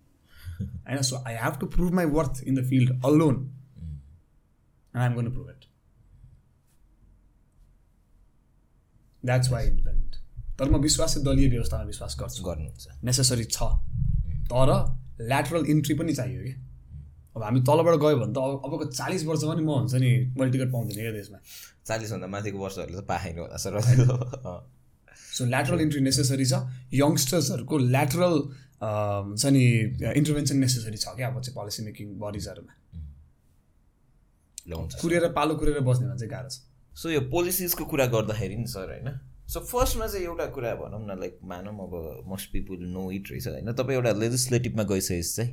S2: होइन so I have to prove my worth in the field alone and I'm gonna prove it that's why independent तर म विश्वास चाहिँ दलीय व्यवस्थामा विश्वास गर्छु
S1: गर्नुहुन्छ
S2: नेसेसरी छ तर ल्याटरल इन्ट्री पनि चाहियो कि अब हामी तलबाट गयो भने त अब अबको चालिस वर्ष पनि म हुन्छ नि मैले टिकट पाउँदिनँ क्या देशमा
S1: चालिसभन्दा माथिको वर्षहरूले त पाएन होला सर रमाइलो अँ,
S2: सो ल्याटरल इन्ट्री नेसेसरी छ यङ्स्टर्सहरूको ल्याटरल हुन्छ नि इन्टरभेन्सन नेसेसरी छ क्या अब चाहिँ पोलिसी मेकिङ बडिजहरूमा
S1: ल हुन्छ
S2: कुरेर पालो कुरेर बस्ने भने चाहिँ गाह्रो छ
S1: सो यो पोलिसिसको कुरा गर्दाखेरि नि सर होइन सो फर्स्टमा चाहिँ एउटा कुरा भनौँ न लाइक मानौँ अब मोस्ट पिपुल नो इट रहेछ होइन तपाईँ एउटा लेजिस्लेटिभमा गइसकेपछि चाहिँ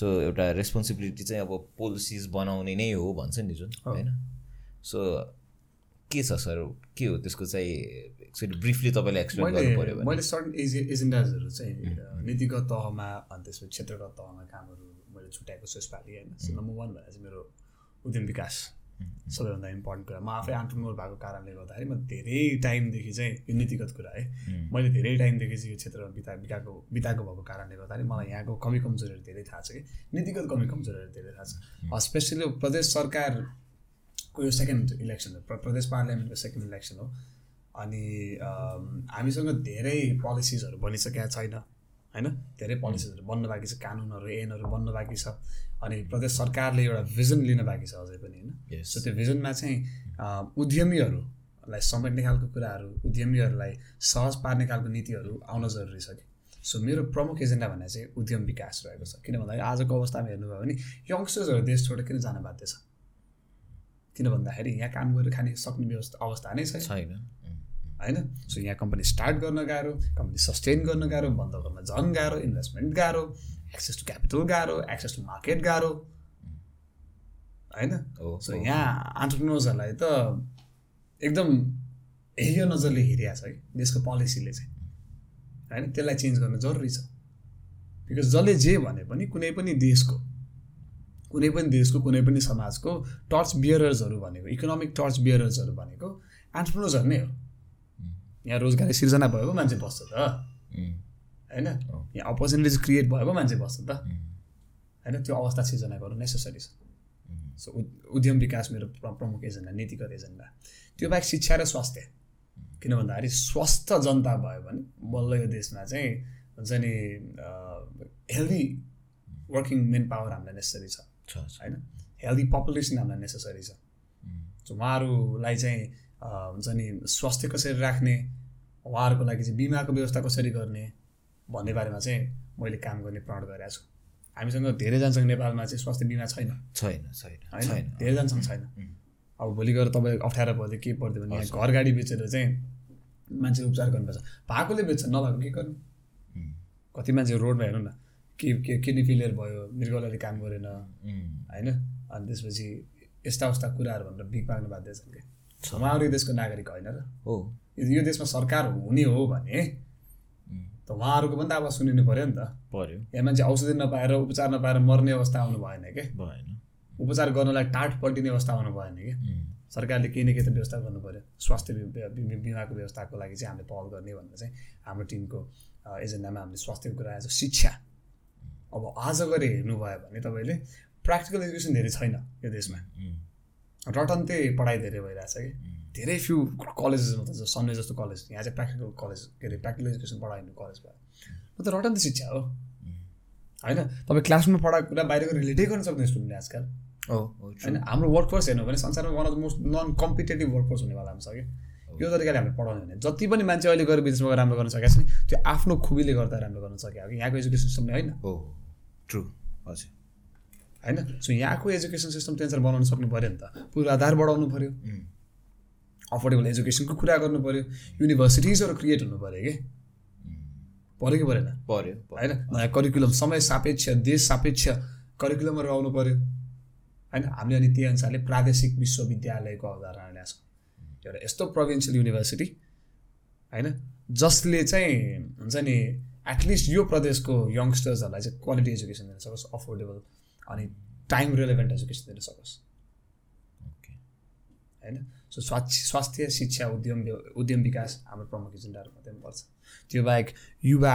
S1: सो एउटा रेस्पोन्सिबिलिटी चाहिँ अब पोलिसिस बनाउने नै हो भन्छ नि जुन होइन सो के छ सर के हो त्यसको चाहिँ एक्चुली ब्रिफली तपाईँलाई एक्सप्लेन
S2: मैले
S1: गर्नु पऱ्यो भने
S2: मैले सर्टन एजे एजेन्डाजहरू चाहिँ अ, नीतिगत तहमा अनि त्यसपछि क्षेत्रगत तहमा कामहरू मैले छुट्याएको छु यसपालि होइन सो नम्बर वान भनेर चाहिँ मेरो उद्यम विकास सबैभन्दा इम्पोर्टेन्ट कुरा म आफै आन्टरप्रिनोर भएको कारणले गर्दाखेरि म धेरै टाइमदेखि चाहिँ यो नीतिगत कुरा है
S1: उम्,
S2: मैले धेरै टाइमदेखि चाहिँ यो क्षेत्रमा बिता बिताएको बिताएको भएको कारणले गर्दाखेरि मलाई यहाँको कमी कमजोरीहरू धेरै थाहा छ कि नीतिगत कमी कमजोरीहरू धेरै थाहा छ स्पेसली प्रदेश सरकारको यो सेकेन्ड इलेक्सन हो प्र- प्रदेश पार्लियामेन्टको सेकेन्ड इलेक्सन हो अनि अम, हामीसँग धेरै पोलिसिसहरू बनिसकेका छैन होइन धेरै पोलिसिसहरू बन्न बाँकी छ कानुनहरू ऐनहरू बन्न बाँकी छ अनि प्रदेश सरकारले एउटा भिजन लिन बाँकी छ अझै पनि होइन
S1: Yes.
S2: सो त्यो भिजनमा चाहिँ अ, उद्यमीहरूलाई समेट्ने खालको कुराहरू उद्यमीहरूलाई सहज पार्ने खालको नीतिहरू आउन जरुरी छ कि सो मेरो प्रमुख एजेन्डा भने चाहिँ उद्यम विकास रहेको छ किन भन्दाखेरि आजको अवस्थामा हेर्नुभयो भने यङ्स्टर्सहरू देश छोडेर किन जान बाध्य छ किन भन्दाखेरि यहाँ काम गरेर खाने सक्ने व्यवस्था अवस्था नै छैन
S1: छैन उम्,
S2: होइन सो यहाँ कम्पनी स्टार्ट गर्न गाह्रो कम्पनी सस्टेन गर्न गाह्रो बन्द गर्न झन् गाह्रो इन्भेस्टमेन्ट गाह्रो एक्सेस टु क्यापिटल गाह्रो एक्सेस टु मार्केट गाह्रो होइन
S1: हो
S2: सो
S1: हो।
S2: यहाँ आन्टरप्रिनर्सहरूलाई त एकदम हेयो नजरले हेरिरहेको छ है देशको पोलिसीले चाहिँ होइन त्यसलाई चेन्ज गर्न जरुरी छ बिकज जसले जे भने पनि कुनै पनि देशको कुनै पनि देशको कुनै पनि समाजको टर्च बियरर्सहरू भनेको इकोनोमिक टर्च बियरर्सहरू भनेको आन्टरप्रिनर्सहरू नै हो यहाँ रोजगारी सिर्जना भयो पो मान्छे बस्छ त
S1: उम्,
S2: होइन
S1: हो।
S2: यहाँ अपर्च्युनिटिज क्रिएट भयो पो मान्छे बस्छ त
S1: उम्,
S2: होइन त्यो अवस्था सिर्जना गर्नु नेसेसरी छ
S1: उम्,
S2: सो उद्- उद्यम विकास मेरो प्र- प्रमुख एजेन्डा नीतिगत एजेन्डा त्यो बाहेक शिक्षा र स्वास्थ्य किन भन्दाखेरि स्वस्थ जनता भयो भने बल्ल यो देशमा चाहिँ हुन्छ नि अँ, हेल्दी वर्किङ मेन पावर हामीलाई नेसेसरी छ होइन हेल्दी पपुलेसन हामीलाई नेसेसरी छ सो उहाँहरूलाई चाहिँ अ, हुन्छ नि स्वास्थ्य कसरी राख्ने उहाँहरूको लागि चाहिँ बिमाको व्यवस्था कसरी गर्ने भन्ने बारेमा चाहिँ मैले काम गर्ने प्रण गरेको छु हामीसँग धेरैजनासँग नेपालमा चाहिँ स्वास्थ्य बिमा छैन
S1: छैन छैन
S2: होइन
S1: छैन
S2: धेरैजनासँग छैन अब भोलि गएर तपाईँ अप्ठ्यारो पर्दै के पर्थ्यो भने यहाँ घर गाडी बेचेर चाहिँ मान्छे उपचार गर्नुपर्छ भएकोले बेच्छ नभएको के गर्नु
S1: उम्,
S2: कति मान्छे रोडमा हेर्नु न के के किडनी फेलियर भयो मृगौलाले काम गरेन
S1: उम्,
S2: होइन अनि त्यसपछि यस्ता उस्ता कुराहरू भनेर भिख माग्नु बाध्य छन् क्या उहाँहरू यो देशको नागरिक होइन र
S1: हो
S2: यदि यो देशमा सरकार हुने हो भने
S1: उम्,
S2: त उहाँहरूको पनि त आवाज सुनिनु पऱ्यो नि त
S1: पर्यो
S2: यहाँ मान्छे औषधि नपाएर उपचार नपाएर मर्ने अवस्था आउनु भएन के
S1: भएन
S2: उपचार गर्नलाई टाट पल्टिने अवस्था आउनु भएन कि
S1: उम्,
S2: सरकारले केही न केही त व्यवस्था गर्नु पऱ्यो स्वास्थ्य बि- बि- बि- बिमाको व्यवस्थाको लागि चाहिँ हामीले पहल गर्ने भनेर चाहिँ हाम्रो टिमको अ, एजेन्डामा हामीले स्वास्थ्यको कुरा आएको छ शिक्षा अब आज गएर हेर्नुभयो भने तपाईँले प्र्याक्टिकल एजुकेसन धेरै छैन यो देशमा
S1: उम्,
S2: रटन्ते पढाइ धेरै भइरहेछ कि
S1: उम्,
S2: धेरै फ्यु कलेजेसमा त जस्तो सन्डे जस्तो कलेज यहाँ चाहिँ प्र्याक्टिकल कलेज के अरे प्र्याक्टिकल एजुकेसन पढाइने कलेज भयो म त रटन्ते शिक्षा हो
S1: उम्।
S2: होइन तपाईँ क्लासमा पढाएको कुरा बाहिरको रिलेटै गर्न सक्दैन स्टुडेन्ट आजकल
S1: हो हो
S2: होइन हाम्रो वर्कफोर्स हेर्नु भने संसारमा one of the most non competitive workforce हुनेवाला हामी छ कि यो तरिकाले हामीले पढाउने भने जति पनि मान्छे अहिले गएर विदेशमा गएर राम्रो गर्न सकेको छ नि त्यो आफ्नो खुबीले गर्दा राम्रो गर्न सकेको कि यहाँको एजुकेसन सिस्टमले होइन
S1: हो ट्रु Oh, हजुर
S2: होइन सो यहाँको एजुकेसन सिस्टम टेन्सन बनाउन सक्नु पऱ्यो नि त पूर्वाधार बढाउनु पऱ्यो
S1: उम्,
S2: अफोर्डेबल एजुकेसनको कुरा गर्नु पऱ्यो युनिभर्सिटिजहरू क्रिएट हुनु पऱ्यो कि पऱ्यो कि परेन
S1: पर्यो पर्यो
S2: होइन नयाँ करिकुलम समय सापेक्ष देश सापेक्ष करिकुलमहरू आउनु पऱ्यो होइन हामीले अनि त्यही अनुसारले प्रादेशिक विश्वविद्यालयको अवधारणा ल्याएको छौँ एउटा यस्तो प्रोभिन्सियल युनिभर्सिटी होइन जसले चाहिँ हुन्छ नि एटलिस्ट यो प्रदेशको यङ्स्टर्सहरूलाई चाहिँ क्वालिटी एजुकेसन दिन सकोस् अफोर्डेबल अनि टाइम रेलेभेन्ट एजुकेसन दिन सकोस्
S1: Okay.
S2: होइन सो स्वास्थ्य स्वास्थ्य शिक्षा उद्यम व्य- उद्यम विकास हाम्रो प्रमुख एजेन्डाहरू मात्रै पर्छ त्यो बाहेक युवा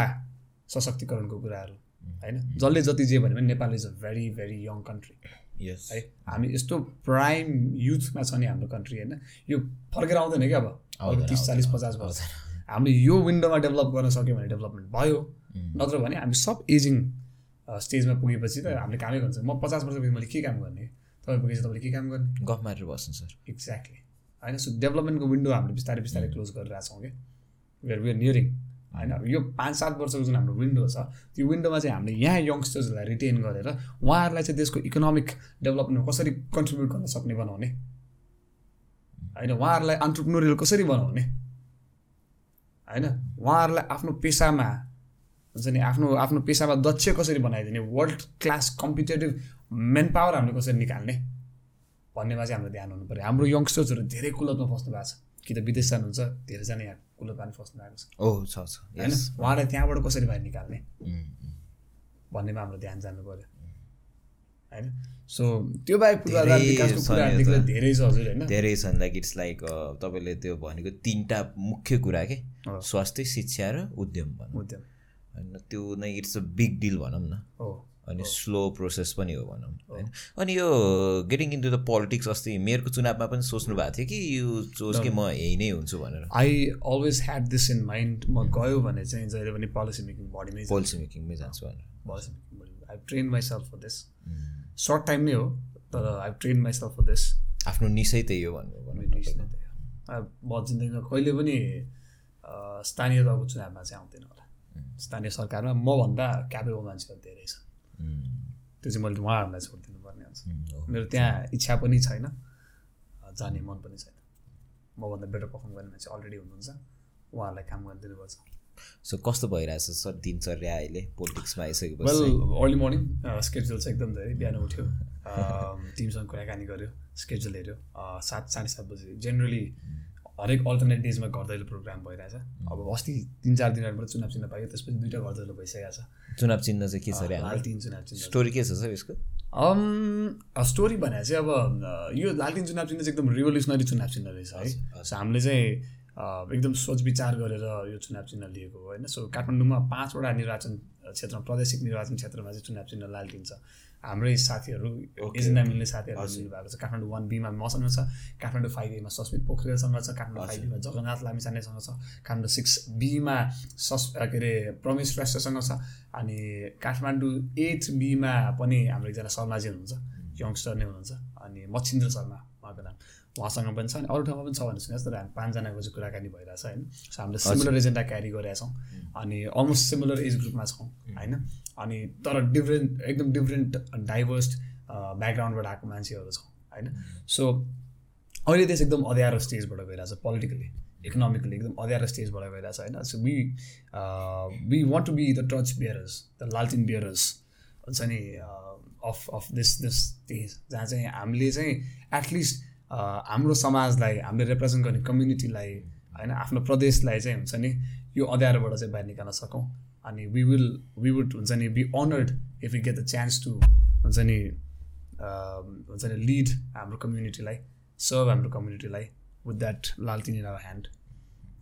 S2: सशक्तिकरणको कुराहरू होइन
S1: Mm-hmm.
S2: जसले जति जे भन्यो भने Nepal is a very very young country
S1: यस
S2: है हामी यस्तो प्राइम युथमा छ नि हाम्रो कन्ट्री होइन यो फर्केर आउँदैन क्या अब अब
S1: आउँदैन,
S2: तिस चालिस पचास वर्ष हामीले यो विन्डोमा डेभलप गर्न सक्यौँ भने डेभलपमेन्ट भयो
S1: उम्,
S2: नत्र भने हामी सब एजिङ स्टेजमा पुगेपछि त हामीले कामै गर्छ म पचास वर्षपछि मैले के काम गर्ने तपाईँ पुगेपछि तपाईँले के काम गर्ने
S1: गफ मारेर बस्नु सर
S2: एक्ज्याक्टली होइन सो डेभलपमेन्टको विन्डो हामीले बिस्तारै बिस्तारै क्लोज गरिरहेको छौँ क्या वेआर वेआर नियरिङ होइन अब यो पाँच सात वर्षको जुन हाम्रो विन्डो छ त्यो विन्डोमा चाहिँ हामीले यहाँ यङ्स्टर्सहरूलाई रिटेन गरेर उहाँहरूलाई चाहिँ देशको इकोनोमिक डेभलपमेन्टमा कसरी कन्ट्रिब्युट गर्न सक्ने बनाउने होइन उहाँहरूलाई अन्टरप्रिनोरियल कसरी बनाउने होइन उहाँहरूलाई आफ्नो पेसामा हुन्छ नि आफ्नो आफ्नो पेसामा दक्ष कसरी बनाइदिने world class competitive manpower हामीले कसरी निकाल्ने भन्नेमा चाहिँ हाम्रो ध्यान हुनु पऱ्यो हाम्रो यङ्स्टर्सहरू धेरै कुलतमा फस्नु भएको छ कि त विदेश जानुहुन्छ धेरैजना यहाँ कुलतमा नि फस्नु भएको छ
S1: ओ Oh, छ छ Mm,
S2: होइन
S1: यस
S2: उहाँलाई त्यहाँबाट कसरी बाहिर निकाल्ने
S1: उम्, उम्,
S2: भन्नेमा हाम्रो ध्यान जानु पऱ्यो होइन सो त्यो बाहेक पूर्वाधार
S1: धेरै
S2: विकासको
S1: छ नि
S2: कुराहरूदेखि
S1: यता।
S2: त धेरै छ हजुर होइन
S1: धेरै छन् लाइक इट्स लाइक uh, तपाईँले त्यो भनेको तिनवटा मुख्य कुरा के
S2: अँ।
S1: स्वास्थ्य शिक्षा र उद्यम भनौँ
S2: उद्यम
S1: होइन त्यो नै इट्स अ बिग डिल भनौँ न
S2: हो
S1: अनि स्लो प्रोसेस पनि हो भनौँ होइन अनि यो getting into the politics अस्ति मेयरको चुनावमा पनि सोच्नु भएको थियो कि यो सोच कि म यही नै हुन्छु भनेर
S2: I always had this in mind म गयो भने चाहिँ जहिले पनि पोलिसी मेकिङ बडीमै
S1: पोलिसी मेकिङमै जान्छु भनेर Mm.
S2: Policy making body I train myself for this
S1: um,
S2: short time नै हो तर I train myself for this
S1: आफ्नो निसै त्यही हो भन्नु भनौँ न
S2: भेट्नुहोस् न
S1: तपाईँको।
S2: त्यहाँ। अब म जिन्दगीमा कहिले पनि अ, स्थानीय तहको चुनावमा चाहिँ आउँदैन होला स्थानीय सरकारमा मभन्दा क्यापेबल मान्छेहरू धेरै छ
S1: उम्,
S2: त्यो चाहिँ मैले उहाँहरूलाई छोडिदिनु पर्ने हुन्छ
S1: उम्, हो।
S2: मेरो त्यहाँ इच्छा पनि छैन अ, जाने मन पनि छैन मभन्दा बेटर पर्फर्म गर्ने मान्छे अलरेडी हुनुहुन्छ उहाँहरूलाई काम गर्न दिनुपर्छ
S1: सो कस्तो भइरहेछ सर दिनचर्या अहिले पोलिटिक्समा आइसकेपछि
S2: वेल
S1: चाहिँ?
S2: अर्ली मर्निङ स्केड्युल uh, चाहिँ एकदम धेरै बिहान उठ्यो टिमसँग कुराकानी गऱ्यो स्केड्युल हेऱ्यो अ, सात साढे सात बजी जेनरली हरेक अल्टरनेट डेजमा घर दैलो प्रोग्राम भइरहेछ
S1: Mm.
S2: अब अस्ति तिन चार दिनहरूबाट चुनाव चिन्ह पायो त्यसपछि दुइटा घर दैलो भइसकेको छ
S1: चुनाव चिन्ह चाहिँ के छ अरे हाम्रो?
S2: लालटिन चुनाव चिन्ह Um,
S1: स्टोरी के छ सर यसको
S2: अम्, अ, स्टोरी भने चाहिँ अब अ, यो लालटिन चुनाव चिन्ह चाहिँ एकदम रिभोल्युसनरी चुनाव चिन्ह रहेछ है सो हामीले चाहिँ अ, एकदम सोच विचार गरेर यो चुनाव चिन्ह लिएको हो होइन सो काठमाडौँमा पाँचवटा निर्वाचन क्षेत्रमा प्रादेशिक निर्वाचन क्षेत्रमा चाहिँ चुनाव चिन्ह लालटिन छ हाम्रै साथीहरू
S1: Okay.
S2: एजेन्डा मिल्ने साथीहरू
S1: हजुर.
S2: मिल्नु भएको छ काठमाडौँ वान बीमा मसँग छ काठमाडौँ फाइभ एमा सस्मित पोखरेलसँग छ काठमाडौँ फाइभ
S1: हजुर.
S2: बीमा जगन्नाथ लामिछानेसँग छ काठमाडौँ सिक्स बीमा सस् के अरे प्रमेश श्रेष्ठसँग छ अनि काठमाडौँ एट बीमा पनि हाम्रो एकजना शर्माजी हुनुहुन्छ यङ्स्टर नै हुनुहुन्छ अनि मच्छिन्द्र शर्मा उहाँको नाम उहाँसँग पनि छ अनि अरू ठाउँमा पनि छ भनेर सुनेको तर हामी पाँचजनाको चाहिँ कुराकानी भइरहेछ होइन सो हामीले सिमिलर एजेन्डा क्यारी गरेका छौँ अनि अलमोस्ट सिमिलर एज ग्रुपमा छौँ होइन अनि तर डिफ्रेन्ट एकदम डिफ्रेन्ट डाइभर्स ब्याकग्राउन्डबाट आएको मान्छेहरू छौँ होइन सो अहिले देश एकदम अध्यारो स्टेजबाट गइरहेछ पोलिटिकली इकोनोमिकली एकदम अध्यारो स्टेजबाट गइरहेछ होइन so we we want to be the torch bearers the लालटिन बियरर्स हुन्छ नि of of this this stage जहाँ चाहिँ हामीले चाहिँ एटलिस्ट हाम्रो समाजलाई हामीले रिप्रेजेन्ट गर्ने कम्युनिटीलाई होइन आफ्नो प्रदेशलाई चाहिँ हुन्छ नि यो अध्यारोबाट चाहिँ बाहिर निकाल्न सकौँ अनि वी विल वी वुड हुन्छ नि be honoured if you get the chance to हुन्छ नि um, हुन्छ नि लिड हाम्रो कम्युनिटीलाई सर्भ हाम्रो कम्युनिटीलाई विथ द्याट लालटिन इन आवर ह्यान्ड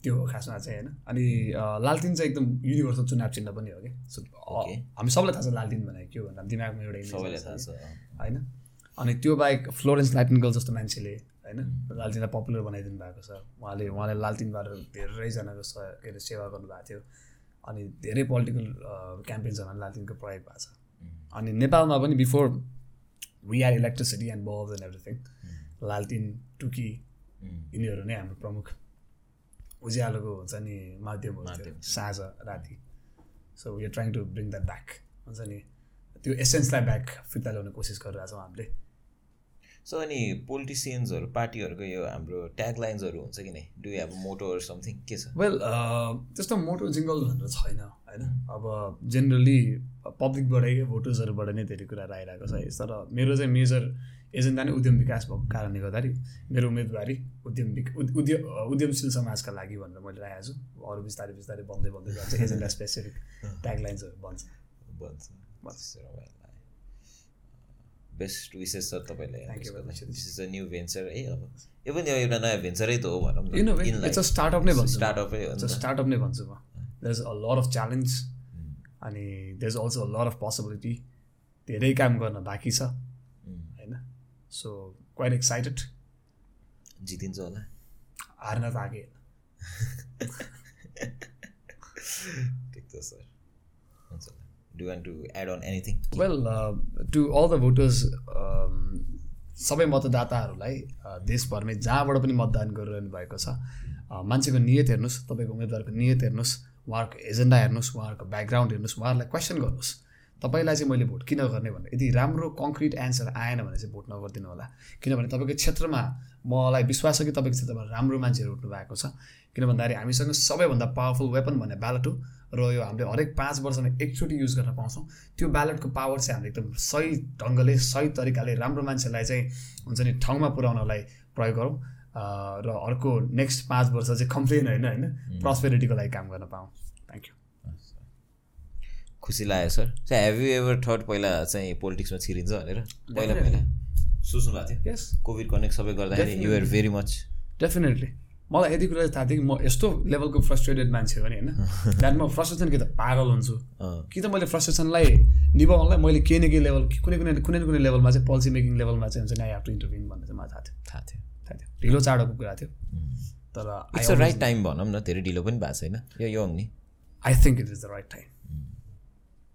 S2: त्यो हो खासमा चाहिँ होइन अनि अ, लालटिन चाहिँ एकदम युनिभर्सल चुनाव चिन्ह पनि हो कि सो अ,
S1: Okay.
S2: हामी सबलाई थाहा छ लालटिन भनेको के हो भनेर दिमागमा एउटा image
S1: सबैलाई
S2: आउँछ
S1: थाहा छ
S2: होइन अनि त्यो बाहेक फ्लोरेन्स नाइटिङ्गल जस्तो मान्छेले होइन लालटिनलाई पपुलर बनाइदिनु भएको छ उहाँले उहाँले लालटिनबाट धेरैजनाको स के अरे सेवा गर्नुभएको थियो अनि धेरै पोलिटिकल क्याम्पेन्सहरूमा लालटिनको प्रयोग भएको छ अनि नेपालमा पनि before we are electricity and bulb and everything लालटिन टुकी यिनीहरू नै हाम्रो प्रमुख उज्यालोको हुन्छ नि माध्यमहरू थियो
S1: माध्यम।
S2: साँझ राति so we are trying to bring that back हुन्छ नि त्यो एसेन्सलाई ब्याक फिर्ता ल्याउने कोसिस गरिरहेछौँ हामीले
S1: सो अनि पोलिटिसियन्सहरू पार्टीहरूको यो हाम्रो ट्याग लाइन्सहरू हुन्छ कि नै डु हेभ मोटो समथिङ के छ
S2: वेल uh, त्यस्तो मोटो जिङ्गल भनेर छैन होइन अब जेनरली पब्लिकबाटै भोटर्सहरूबाट नै धेरै कुराहरू आइरहेको छ तर मेरो चाहिँ मेजर एजेन्डा नै उद्यम विकास भएको कारणले गर्दाखेरि मेरो उम्मेदवारी उद्यम विक उद्- उद्यम उद्यमशील समाजका लागि भनेर मैले राखेको छु अरू बिस्तारै बिस्तारै बन्दै बन्दै जान्छ एजेन्डा स्पेसिफिक ट्यागलाइन्सहरू बन्छ
S1: बेस्ट विशेष छ तपाईँलाई
S2: Thank you very much.
S1: This is a new venture है अब यो पनि एउटा नयाँ भेन्चरै त हो भनौँ न
S2: You know, it- it's a startup नै भन्छु म।
S1: स्टार्टअपै हो नि
S2: It's a
S1: त।
S2: startup नै भन्छु म there's a lot of challenge अनि there's also a lot of possibility धेरै काम गर्न बाँकी छ
S1: उम्,
S2: होइन सो क्वाइट एक्साइटेड
S1: जितिन्छ होला
S2: हार्न त आएकै होइन
S1: ठिक छ सर हुन्छ do want to add on anything
S2: well to all the voters um, सबै मतदाताहरूलाई uh, देशभरमै जहाँबाट पनि मतदान गरिरहनु भएको छ uh, मान्छेको नियत हेर्नुहोस् तपाईँको उम्मेदवारको नियत हेर्नुहोस् उहाँहरूको एजेन्डा हेर्नुहोस् उहाँहरूको ब्याकग्राउन्ड हेर्नुहोस् उहाँहरूलाई क्वेसन गर्नुहोस् तपाईँलाई चाहिँ मैले भोट किन गर्ने भनेर यदि राम्रो कङ्क्रिट एन्सर आएन भने चाहिँ भोट नगरिदिनु होला किनभने तपाईँको क्षेत्रमा मलाई विश्वास छ कि तपाईँको क्षेत्रमा राम्रो मान्छेहरू उठ्नु भएको छ किन भन्दाखेरि हामीसँग सबैभन्दा पावरफुल वेपन भन्ने ब्यालेट हो र यो हामीले हरेक पाँच वर्षमा एकचोटि युज गर्न पाउँछौँ त्यो ब्यालेटको पावर चाहिँ हामीले एकदम सही ढङ्गले सही तरिकाले राम्रो मान्छेलाई चाहिँ हुन्छ नि ठाउँमा पुर्याउनलाई प्रयोग गरौँ अ, र अर्को नेक्स्ट पाँच वर्ष चाहिँ कम्प्लेन होइन होइन प्रस्पेरिटीको लागि काम गर्न पाऊँ थ्याङ्क यू
S1: खुसी लाग्यो sir sir have you ever थर्ड पहिला चाहिँ पोलिटिक्समा छिरिन्छ भनेर पहिला
S2: Definitely.
S1: पहिला सोच्नु भएको थियो
S2: यस
S1: कोभिड कनेक्ट सबै गर्दाखेरि you are
S2: Definitely.
S1: Very much
S2: definitely मलाई यति कुरा चाहिँ थाहा थियो कि म यस्तो लेभलको फ्रस्ट्रेटेड मान्छे हो नि होइन द्याट म फ्रस्ट्रेसन कि त पागल हुन्छु कि त मैले फ्रस्ट्रेसनलाई निभाउनलाई मैले केही न केही लेभल कुनै कुनै कुनै न कुनै लेभलमा चाहिँ पोलिसी मेकिङ लेभलमा चाहिँ हुन्छ नि आई हेभ टु इन्टरभ्युन भन्ने चाहिँ मलाई थाहा थियो
S1: थाहा थियो
S2: थाहा थियो ढिलो चाँडोको कुरा थियो तर I
S1: it's a right time भनौँ न धेरै ढिलो पनि भएको छैन यो यङ नि
S2: I think it is the right time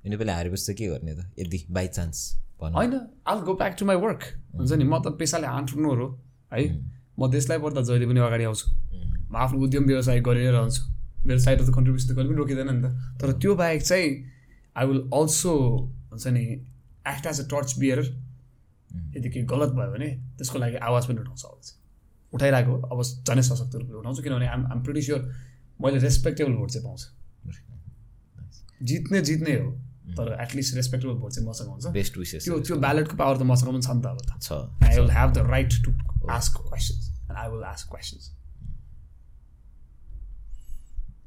S1: यिनी पहिला हारेपछि चाहिँ के गर्ने त यदि बाई चान्स भनौँ
S2: होइन I'll go back to my work हुन्छ नि म त पेसाले आन्टरप्रेनर हो है म देशलाई पर्दा जहिले पनि अगाडि आउँछु म आफ्नो उद्यम व्यवसाय गरि नै रहन्छु मेरो साइड अफ द कन्ट्रिब्युसन त कहिले पनि रोकिँदैन नि त तर त्यो बाहेक चाहिँ आई विल अल्सो हुन्छ नि act as a torch bearer यदि केही गलत भयो भने त्यसको लागि आवाज पनि उठाउँछ अब चाहिँ उठाइरहेको हो, अब झनै सशक्त रूपले उठाउँछु किनभने आम आम प्रिटी स्योर मैले रेस्पेक्टेबल भोट चाहिँ पाउँछु जित्ने जित्ने हो तर एटलिस्ट रेस्पेक्टेबल भोट चाहिँ मसँग हुन्छ
S1: बेस्ट विसेस
S2: त्यो त्यो ब्यालेटको पावर त मसँग पनि छ नि त अब त
S1: छ
S2: I will have the right to ask questions and I will ask questions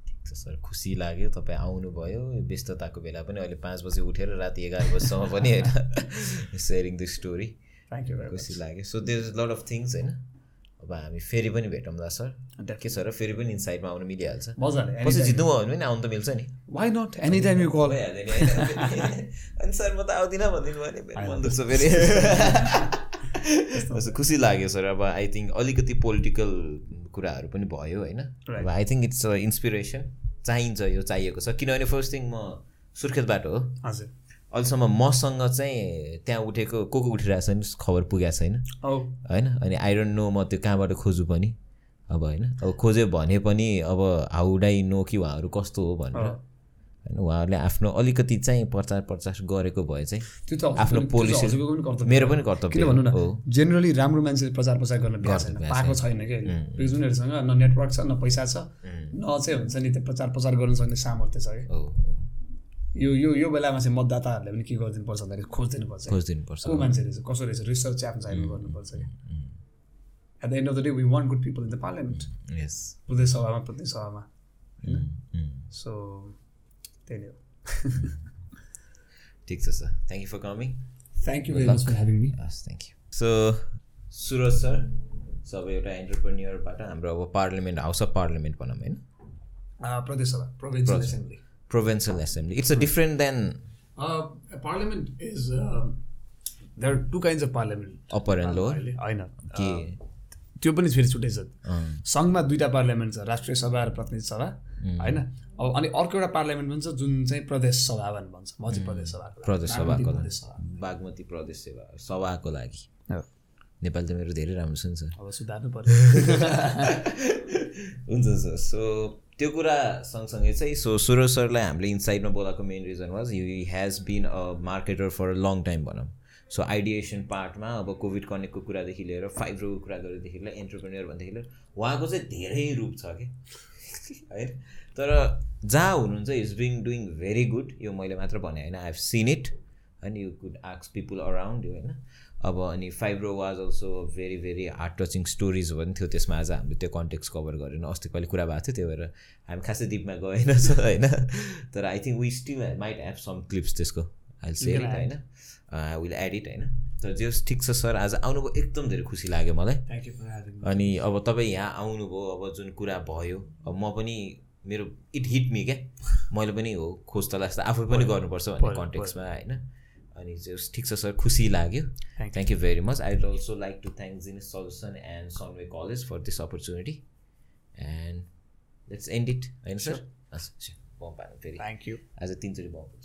S1: ठिक छ सर खुसी लाग्यो तपाईँ आउनुभयो व्यस्तताको बेला पनि अहिले पाँच बजी उठेर राति एघार बजीसम्म पनि होइन sharing the story
S2: thank you very
S1: खुसी लाग्यो so there is lot of things होइन अब हामी फेरि पनि भेटौँला सर के छ र फेरि पनि इन्साइडमा आउनु मिलिहाल्छ पछि
S2: मजाले
S1: जित्नु भयो भने पनि आउनु त मिल्छ नि
S2: why not any time you call
S1: भइहाल्यो नि होइन? अनि सर म त आउँदिनँ भनिदिनु भने मेरो मन दुख्छ फेरि कस्तो खुसी लाग्यो सर अब आई थिङ्क अलिकति पोलिटिकल कुराहरू पनि भयो होइन अब I think it's a inspiration चाहिन्छ यो चाहिएको छ किनभने फर्स्ट थिङ म सुर्खेतबाट हो
S2: हजुर
S1: अहिलेसम्म मसँग चाहिँ त्यहाँ उठेको को को उठिरहेको छैन खबर पुगेको छैन
S2: औ
S1: होइन अनि आई डोन्ट नो म त्यो कहाँबाट खोजु पनि अब होइन अब खोज्यो भने पनि अब हाउ डाई नो कि उहाँहरू कस्तो हो भनेर
S2: अँ।
S1: होइन उहाँहरूले आफ्नो अलिकति चाहिँ प्रचार प्रचार गरेको भए चाहिँ
S2: त्यो त
S1: आफ्नो
S2: हजुरको- त्यो त
S1: policy-
S2: हजुरको पनि कर्तव्य
S1: मेरो पनि
S2: किन भन्नु
S1: कर्तव्य
S2: न
S1: हो
S2: जेनरली राम्रो मान्छेले प्रचार प्रसार गर्न भ्याएको छैन
S1: भ्याएको
S2: पाएको छैन कि अहिले बिकज उनीहरूसँग न नेटवर्क छ न पैसा छ न चाहिँ हुन्छ नि त्यो प्रचार प्रसार गर्न सक्ने सामर्थ्य छ कि
S1: हो
S2: यो यो यो बेलामा चाहिँ मतदाताहरूले पनि के गरिदिनुपर्छ भन्दाखेरि खोजिदिनुपर्छ कि।
S1: खोजिदिनुपर्छ
S2: को मान्छे रहेछ कसो रहेछ रिसर्च चाहिँ आफ्नो साइडमा गर्नुपर्छ कि at the end of the day we want good people in the parliament
S1: यस
S2: प्रदेश सभामा प्रदेश सभामा
S1: उम्.
S2: सो त्यही नै हो
S1: ठिक छ sir thank you for coming
S2: thank you very much for having me
S1: हस् thank you so Suraj sir सब एउटा एन्टरप्रेन्यरबाट हाम्रो अब पार्लियामेन्ट हाउस अफ पार्लियामेन्ट भनौँ होइन
S2: Uh, प्रदेश सभा provincial assembly
S1: provincial assembly it's a different then
S2: Uh, parliament is there are two kinds of parliament
S1: upper and lower
S2: अहिले होइन
S1: के
S2: त्यो पनि फेरि छुट्टै छ
S1: अँ,
S2: सङ्घमा दुईवटा पार्लियामेन्ट छ राष्ट्रिय सभा र प्रतिनिधि सभा होइन अब अनि अर्को एउटा पार्लियामेन्ट पनि छ जुन चाहिँ प्रदेश सभा भनेर भन्छ म चाहिँ प्रदेश सभाको लागि।
S1: प्रदेश
S2: बागमती
S1: सभाको
S2: प्रदेश सभा
S1: बागमती प्रदेश सेवा सभाको लागि नेपाली त मेरो धेरै राम्रो छ नि सर
S2: अब सुधार्नु पर्यो
S1: हुन्छ सर सो त्यो कुरा सँगसँगै चाहिँ सो सुरज सरलाई हामीले इन्साइडमा बोलाएको main reason was you has been a marketer for a long time भनौँ सो आइडिएसन पार्टमा अब कोभिड कनेक्टको कुरादेखि लिएर फाइभ रोको कुरा गरेदेखि लिएर एन्टरप्रेन्यर भनेदेखि लिएर उहाँको चाहिँ धेरै रूप छ कि होइन तर जहाँ हुनुहुन्छ is being doing very good यो मैले मात्र भने होइन आई हेभ सिन इट होइन यु कुड आक्स पिपुल अराउन्ड यु होइन अब अनि Fibro was also very very heart touching stories पनि थियो त्यसमा आज हामीले त्यो कन्टेक्स्ट कभर गरेन अस्ति कहिले कुरा भएको थियो त्यही भएर हामी खासै डिपमा गएन छ होइन तर I think we still might have some clips त्यसको अहिले सेयर इट होइन Uh, I will add it होइन तर जे होस् ठिक छ सर आज आउनुभयो एकदम धेरै खुसी लाग्यो मलाई
S2: थ्याङ्क यू फर हेभिङ
S1: अनि अब तपाईँ यहाँ आउनुभयो अब जुन कुरा भयो अब म पनि मेरो इट हिट मी क्या मैले पनि हो खोज तलास त आफै पनि गर्नुपर्छ भन्ने
S2: पऱ्यो,
S1: कन्टेक्समा होइन अनि जस ठिक छ सर खुसी लाग्यो
S2: Thank you.
S1: Thank you very much I would also like to thank Genese solution and Sunway College for this opportunity and let's Ah, and it होइन सर हस् बम पार्नु फेरि
S2: थ्याङ्क यू
S1: आज तिनचोटि बम पुग्छ